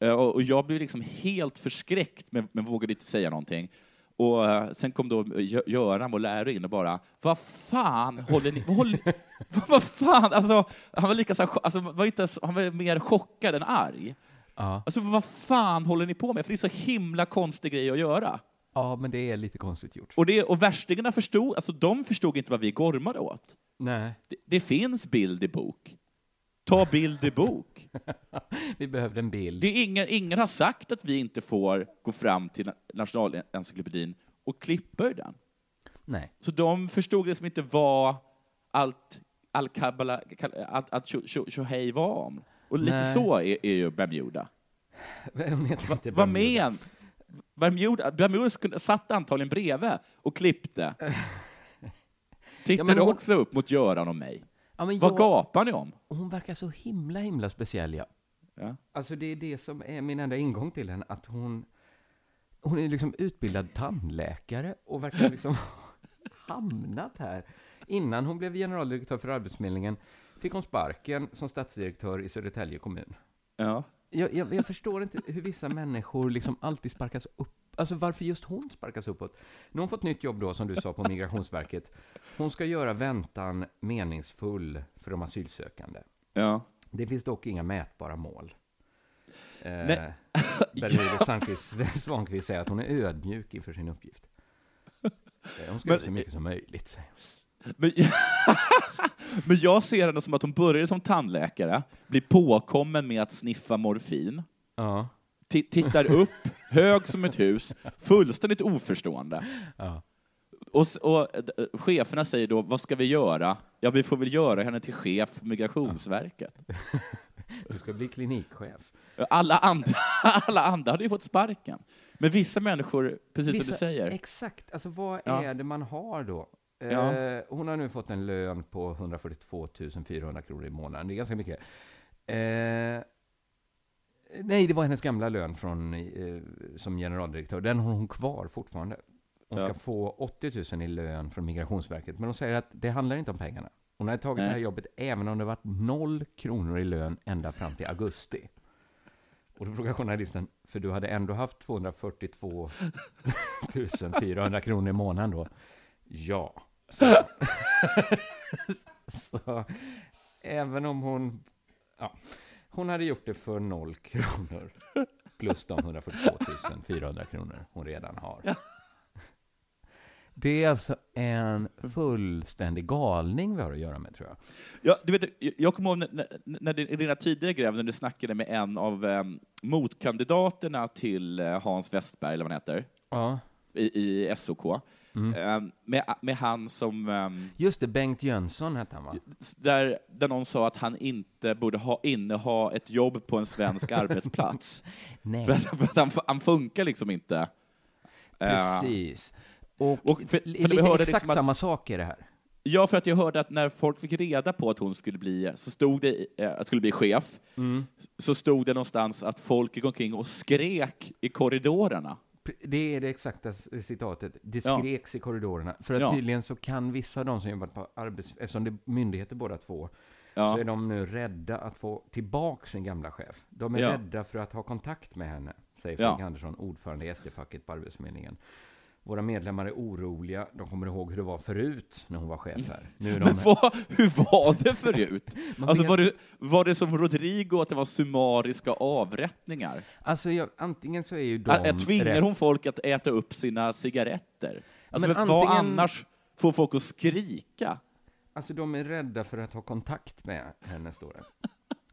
[SPEAKER 3] Eh, Och, och jag blev liksom helt förskräckt, men, men vågade inte säga någonting. Och eh, sen kom då Gö- Göran, vår lärare, in och bara ”Vad fan håller ni <laughs> vad håller, vad, vad fan?” alltså, Han var lika så här, cho- alltså, var inte, ens- han var mer chockad än arg.
[SPEAKER 4] Ja.
[SPEAKER 3] Alltså, vad fan håller ni på med? För det är så himla konstig grej att göra.
[SPEAKER 4] ja, men det är lite konstigt gjort.
[SPEAKER 3] Och, det, och värstingarna förstod, alltså de förstod inte vad vi gormade åt.
[SPEAKER 4] Nej,
[SPEAKER 3] Det, det finns bild i bok. Ta bild i bok.
[SPEAKER 4] vi behövde en bild.
[SPEAKER 3] Det är ingen, ingen har sagt att vi inte får gå fram till na- Nationalencyklopedin och klippa ur den.
[SPEAKER 4] Nej.
[SPEAKER 3] Så de förstod liksom inte vad allt, all kabbala, kal- allt, allt tjo- tjo- tjohej var om. Och lite
[SPEAKER 4] Nej.
[SPEAKER 3] så är, är ju Bermuda.
[SPEAKER 4] <laughs> Vem heter inte
[SPEAKER 3] Vad
[SPEAKER 4] Bermuda?
[SPEAKER 3] men? Bermuda, Bermuda skulle- satt antagligen bredvid
[SPEAKER 4] <laughs>
[SPEAKER 3] och klippte. Tittade
[SPEAKER 4] men hon-
[SPEAKER 3] också upp mot Göran och mig.
[SPEAKER 4] Ja, men
[SPEAKER 3] Vad
[SPEAKER 4] jag,
[SPEAKER 3] gapar ni om?
[SPEAKER 4] hon verkar så himla, himla speciell, ja.
[SPEAKER 3] Ja.
[SPEAKER 4] Alltså det är det som är min enda ingång till henne, att hon, hon är liksom utbildad tandläkare och verkar liksom <laughs> ha hamnat här. Innan hon blev generaldirektör för Arbetsförmedlingen fick hon sparken som stadsdirektör i Södertälje kommun.
[SPEAKER 3] Ja.
[SPEAKER 4] Jag, jag, jag förstår inte hur vissa människor liksom alltid sparkas upp. Alltså varför just hon sparkas uppåt? Nu har hon fått nytt jobb då, som du sa, på Migrationsverket. Hon ska göra väntan meningsfull för de asylsökande.
[SPEAKER 3] ja.
[SPEAKER 4] Det finns dock inga mätbara mål. Eh,
[SPEAKER 3] Nej.
[SPEAKER 4] Bermude <laughs> Sandqvist- Svankvist säger att hon är ödmjuk inför sin uppgift. Eh, Hon ska
[SPEAKER 3] Men-
[SPEAKER 4] göra så mycket som möjligt, säger hon.
[SPEAKER 3] Men, <laughs> men jag ser henne som att hon började som tandläkare, blir påkommen med att sniffa morfin,
[SPEAKER 4] Ja.
[SPEAKER 3] ti-
[SPEAKER 4] <laughs>
[SPEAKER 3] tittar upp, hög som ett hus, fullständigt oförstående.
[SPEAKER 4] Ja.
[SPEAKER 3] Och, s- och eh, d- eh, cheferna säger då, vad ska vi göra? Ja, vi får väl göra henne till chef för Migrationsverket.
[SPEAKER 4] Du ska bli klinikchef.
[SPEAKER 3] Alla andra, <laughs> alla andra hade ju fått sparken. Men vissa människor, precis som du
[SPEAKER 4] Vissa-
[SPEAKER 3] säger,
[SPEAKER 4] Exakt. Alltså, vad
[SPEAKER 3] Ja.
[SPEAKER 4] är det man har då? Eh,
[SPEAKER 3] Ja.
[SPEAKER 4] Hon har nu fått en lön på 142 400 kronor i månaden. Det är ganska mycket. Eh, nej, det var hennes gamla lön från, eh, som generaldirektör. Den har hon kvar fortfarande. Hon
[SPEAKER 3] Ja.
[SPEAKER 4] ska få 80 000 i lön från Migrationsverket. Men hon säger att det handlar inte om pengarna. Hon har tagit det här
[SPEAKER 3] Nej.
[SPEAKER 4] jobbet även om det varit noll kronor i lön ända fram till augusti. Och då frågar journalisten, för du hade ändå haft 242 400 kronor i månaden då? Ja. Så, så även om hon... Ja, hon hade gjort det för noll kronor. Plus de 142 400 kronor hon redan har. Det är alltså en fullständig galning vi har att göra med, tror jag.
[SPEAKER 3] Ja, du vet, jag- jag kommer ihåg när, när, när din- i dina tidigare gräv, när du snackade med en av em, motkandidaterna till eh, Hans Westberg, eller vad han heter,
[SPEAKER 4] Ja.
[SPEAKER 3] i, i SOK,
[SPEAKER 4] Mm.
[SPEAKER 3] Em, Ehm, med, med han som, em,
[SPEAKER 4] Just det, Bengt Jönsson hette han, va?
[SPEAKER 3] s- där, där någon sa att han inte borde ha, inneha ett jobb på
[SPEAKER 4] <laughs>
[SPEAKER 3] en svensk arbetsplats. För
[SPEAKER 4] Nej,
[SPEAKER 3] att, för att han, fu- han funkar liksom inte. Eh,
[SPEAKER 4] precis. Och,
[SPEAKER 3] Och för- för vi
[SPEAKER 4] lite
[SPEAKER 3] hörde
[SPEAKER 4] exakt
[SPEAKER 3] liksom att-
[SPEAKER 4] samma sak är det här.
[SPEAKER 3] Ja, för att jag hörde att när folk fick reda på att hon skulle bli, så stod det, i- eh, skulle bli chef,
[SPEAKER 4] Mm.
[SPEAKER 3] så stod det någonstans att folk gick omkring och skrek i korridorerna.
[SPEAKER 4] Pre- Det är det exakta s- citatet. Det skreks i korridorerna. För att
[SPEAKER 3] Ja.
[SPEAKER 4] tydligen så kan vissa av de som jobbat på arbets... Eftersom det är myndigheter båda två,
[SPEAKER 3] Ja.
[SPEAKER 4] så är de nu rädda att få tillbaka sin gamla chef. De är
[SPEAKER 3] Ja.
[SPEAKER 4] rädda för att ha kontakt med henne, säger
[SPEAKER 3] Ja.
[SPEAKER 4] Frank Andersson, ordförande i SD-facket på Arbetsförmedlingen. Våra medlemmar är oroliga. De kommer ihåg hur det var förut när hon var chef här. Nu är de...
[SPEAKER 3] Men vad, hur var det förut?
[SPEAKER 4] <laughs> Man
[SPEAKER 3] Alltså,
[SPEAKER 4] vet-
[SPEAKER 3] var, det, var det som Rodrigo, att det var summariska avrättningar?
[SPEAKER 4] Alltså, jag, antingen så är ju de...
[SPEAKER 3] Att, att tvingar
[SPEAKER 4] rätt-
[SPEAKER 3] hon folk att äta upp sina cigaretter? Alltså,
[SPEAKER 4] Men
[SPEAKER 3] vad
[SPEAKER 4] antingen-
[SPEAKER 3] annars får folk att skrika?
[SPEAKER 4] Alltså de är rädda för att ha kontakt med henne, står det.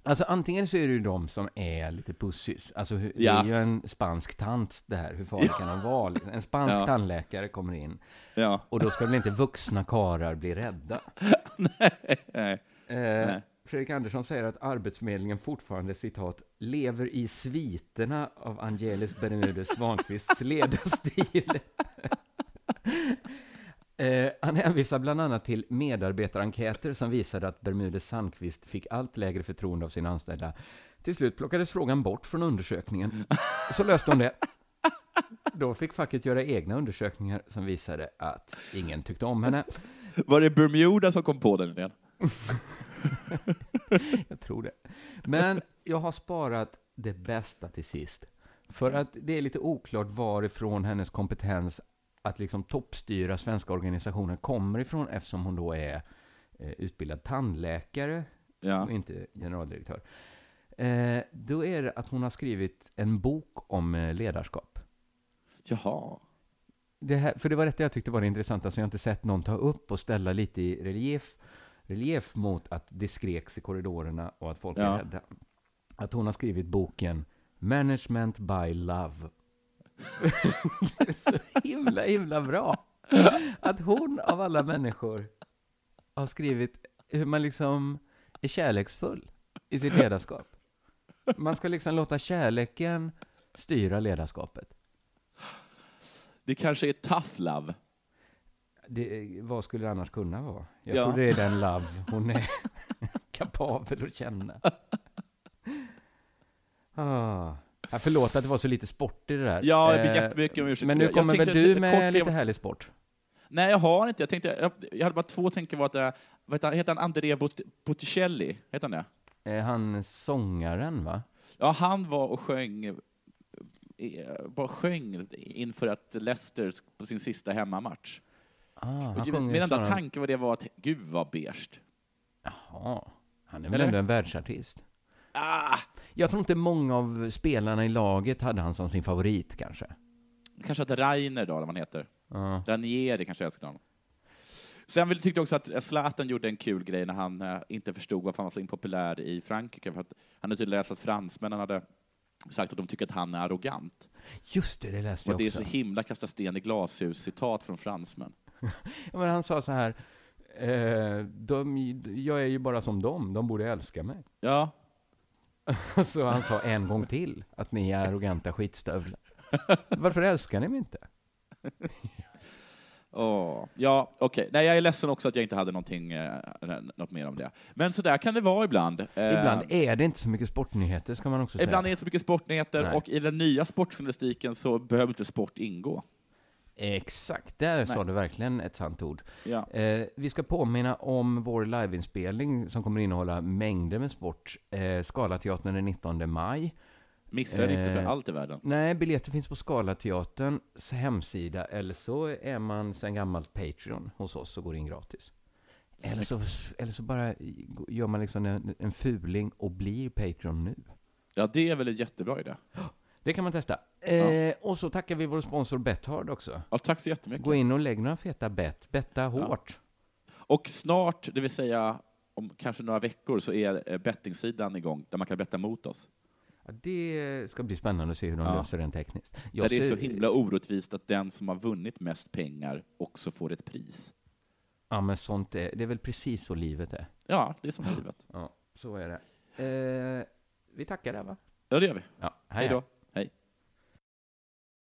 [SPEAKER 4] Alltså antingen så är det ju de som är lite pussis. Alltså hur, det
[SPEAKER 3] Ja.
[SPEAKER 4] är ju en spansk tant det här, hur farlig kan han vara? Liksom. En spansk
[SPEAKER 3] <laughs> Ja.
[SPEAKER 4] tandläkare kommer in
[SPEAKER 3] Ja.
[SPEAKER 4] och då ska väl inte vuxna karar bli rädda?
[SPEAKER 3] <laughs> Nej.
[SPEAKER 4] Eh, Fredrik Andersson säger att Arbetsförmedlingen fortfarande, citat, lever i sviterna av Angelis Bermudez Svankvists ledarstil. <laughs> Eh, han hänvisar bland annat till medarbetarenkäter som visade att Bermudez Sandqvist fick allt lägre förtroende av sina anställda. Till slut plockades frågan bort från undersökningen. Så löste de det. Då fick facket göra egna undersökningar som visade att ingen tyckte om henne. <laughs>
[SPEAKER 3] Var det Bermuda som kom på den idén?
[SPEAKER 4] Jag tror det. Men jag har sparat det bästa till sist. För att det är lite oklart varifrån hennes kompetens att liksom toppstyra svenska organisationer kommer ifrån eftersom hon då är eh, utbildad tandläkare
[SPEAKER 3] Ja.
[SPEAKER 4] och inte generaldirektör. Eh, då är det att hon har skrivit en bok om eh, ledarskap.
[SPEAKER 3] Jaha.
[SPEAKER 4] Det här, för det var detta jag tyckte var det intressanta som jag inte sett någon ta upp och ställa lite i relief, relief mot att det skreks i korridorerna och att folk är
[SPEAKER 3] Ja.
[SPEAKER 4] rädda. Att hon har skrivit boken Management by Love. Det är <laughs> så himla, himla bra. Att hon av alla människor har skrivit hur man liksom är kärleksfull i sitt ledarskap. Man ska liksom låta kärleken styra ledarskapet.
[SPEAKER 3] Det kanske är tough love.
[SPEAKER 4] Det, vad skulle det annars kunna vara? Jag
[SPEAKER 3] Ja.
[SPEAKER 4] tror det är den love hon är <laughs> kapabel att känna. Ah. Ja, förlåt att det var så lite sport i det där.
[SPEAKER 3] Ja, jag ber
[SPEAKER 4] Eh,
[SPEAKER 3] jättemycket om ursäkt
[SPEAKER 4] Men
[SPEAKER 3] för
[SPEAKER 4] nu
[SPEAKER 3] det. Jag
[SPEAKER 4] kommer väl
[SPEAKER 3] tänkte typ
[SPEAKER 4] du
[SPEAKER 3] ett
[SPEAKER 4] med
[SPEAKER 3] kort-
[SPEAKER 4] lite härlig sport?
[SPEAKER 3] Nej, jag har inte. Jag, tänkte, jag, jag hade bara två tankar. Var att, eh, vad heter han? heter han Andrea Bot Botticelli? Heter han det?
[SPEAKER 4] Eh, Han sångaren, va?
[SPEAKER 3] Ja, han var och sjöng, eh, eh, bara sjöng inför att Leicester sk- på sin sista hemmamatch.
[SPEAKER 4] Ah, han
[SPEAKER 3] Och ju-
[SPEAKER 4] sjunger
[SPEAKER 3] Min enda
[SPEAKER 4] snarare-
[SPEAKER 3] tanke var det var att, gud vad beige.
[SPEAKER 4] Jaha. Han är väl
[SPEAKER 3] Eller?
[SPEAKER 4] ändå en världsartist?
[SPEAKER 3] Ah,
[SPEAKER 4] Jag tror inte många av spelarna i laget hade han som sin favorit, kanske.
[SPEAKER 3] kanske att Reiner då, eller vad han heter.
[SPEAKER 4] Ja.
[SPEAKER 3] Ranieri kanske älskar honom. Sen vill, tyckte jag också att eh, Zlatan gjorde en kul grej när han eh, inte förstod varför han var så impopulär i Frankrike. För att han hade tydligen läst att fransmännen hade sagt att de tycker att han är arrogant.
[SPEAKER 4] Just det, det läste jag
[SPEAKER 3] Och det är
[SPEAKER 4] också.
[SPEAKER 3] så himla kasta sten i glashus-citat från fransmän.
[SPEAKER 4] Ja, men han sa så här, eh, de, jag är ju bara som dem, de borde älska mig. <laughs>
[SPEAKER 3] Ja,
[SPEAKER 4] Så han sa en gång till, att ni är arroganta
[SPEAKER 3] <laughs>
[SPEAKER 4] skitstövlar. Varför älskar ni mig inte?
[SPEAKER 3] Åh. ja okej. Nej, jag är ledsen också att jag inte hade någonting, eh, något mer om det. Men så där kan det vara ibland. Eh,
[SPEAKER 4] Ibland är det inte så mycket sportnyheter, ska man också säga.
[SPEAKER 3] Ibland är det inte så mycket sportnyheter
[SPEAKER 4] Nej.
[SPEAKER 3] och i den nya sportjournalistiken så behöver inte sport ingå.
[SPEAKER 4] Exakt, där sa du verkligen ett sant ord.
[SPEAKER 3] Ja.
[SPEAKER 4] Eh, vi ska påminna om vår liveinspelning som kommer innehålla mängder med sport. Eh, Scalateatern den 19 maj.
[SPEAKER 3] Missa det inte för
[SPEAKER 4] Eh.
[SPEAKER 3] allt i världen.
[SPEAKER 4] Nej, biljetter finns på Scalateaterns hemsida, eller så är man sedan gammalt Patreon hos oss och går in gratis. Eller så, eller så bara gör man liksom en, en fuling och blir Patreon nu.
[SPEAKER 3] Ja, det är väl en jättebra idé.
[SPEAKER 4] Det kan man testa. Eh, och så tackar vi vår sponsor Bethard också.
[SPEAKER 3] Ja, tack så jättemycket.
[SPEAKER 4] Gå in och lägg några feta bett. Betta hårt.
[SPEAKER 3] Och snart, det vill säga om kanske några veckor, så är eh, bettingsidan igång där man kan betta mot oss.
[SPEAKER 4] Ja, det ska bli spännande att se hur de
[SPEAKER 3] Ja.
[SPEAKER 4] löser den tekniskt.
[SPEAKER 3] där
[SPEAKER 4] Jag
[SPEAKER 3] det är så
[SPEAKER 4] ser-
[SPEAKER 3] himla orättvist att den som har vunnit mest pengar också får ett pris.
[SPEAKER 4] Ja, men sånt är, det är väl precis så livet är.
[SPEAKER 3] Ja, det är som livet.
[SPEAKER 4] Ja, så är det. Eh, vi tackar där, va?
[SPEAKER 3] Ja, det gör vi.
[SPEAKER 4] Ja, hej
[SPEAKER 3] Hej då.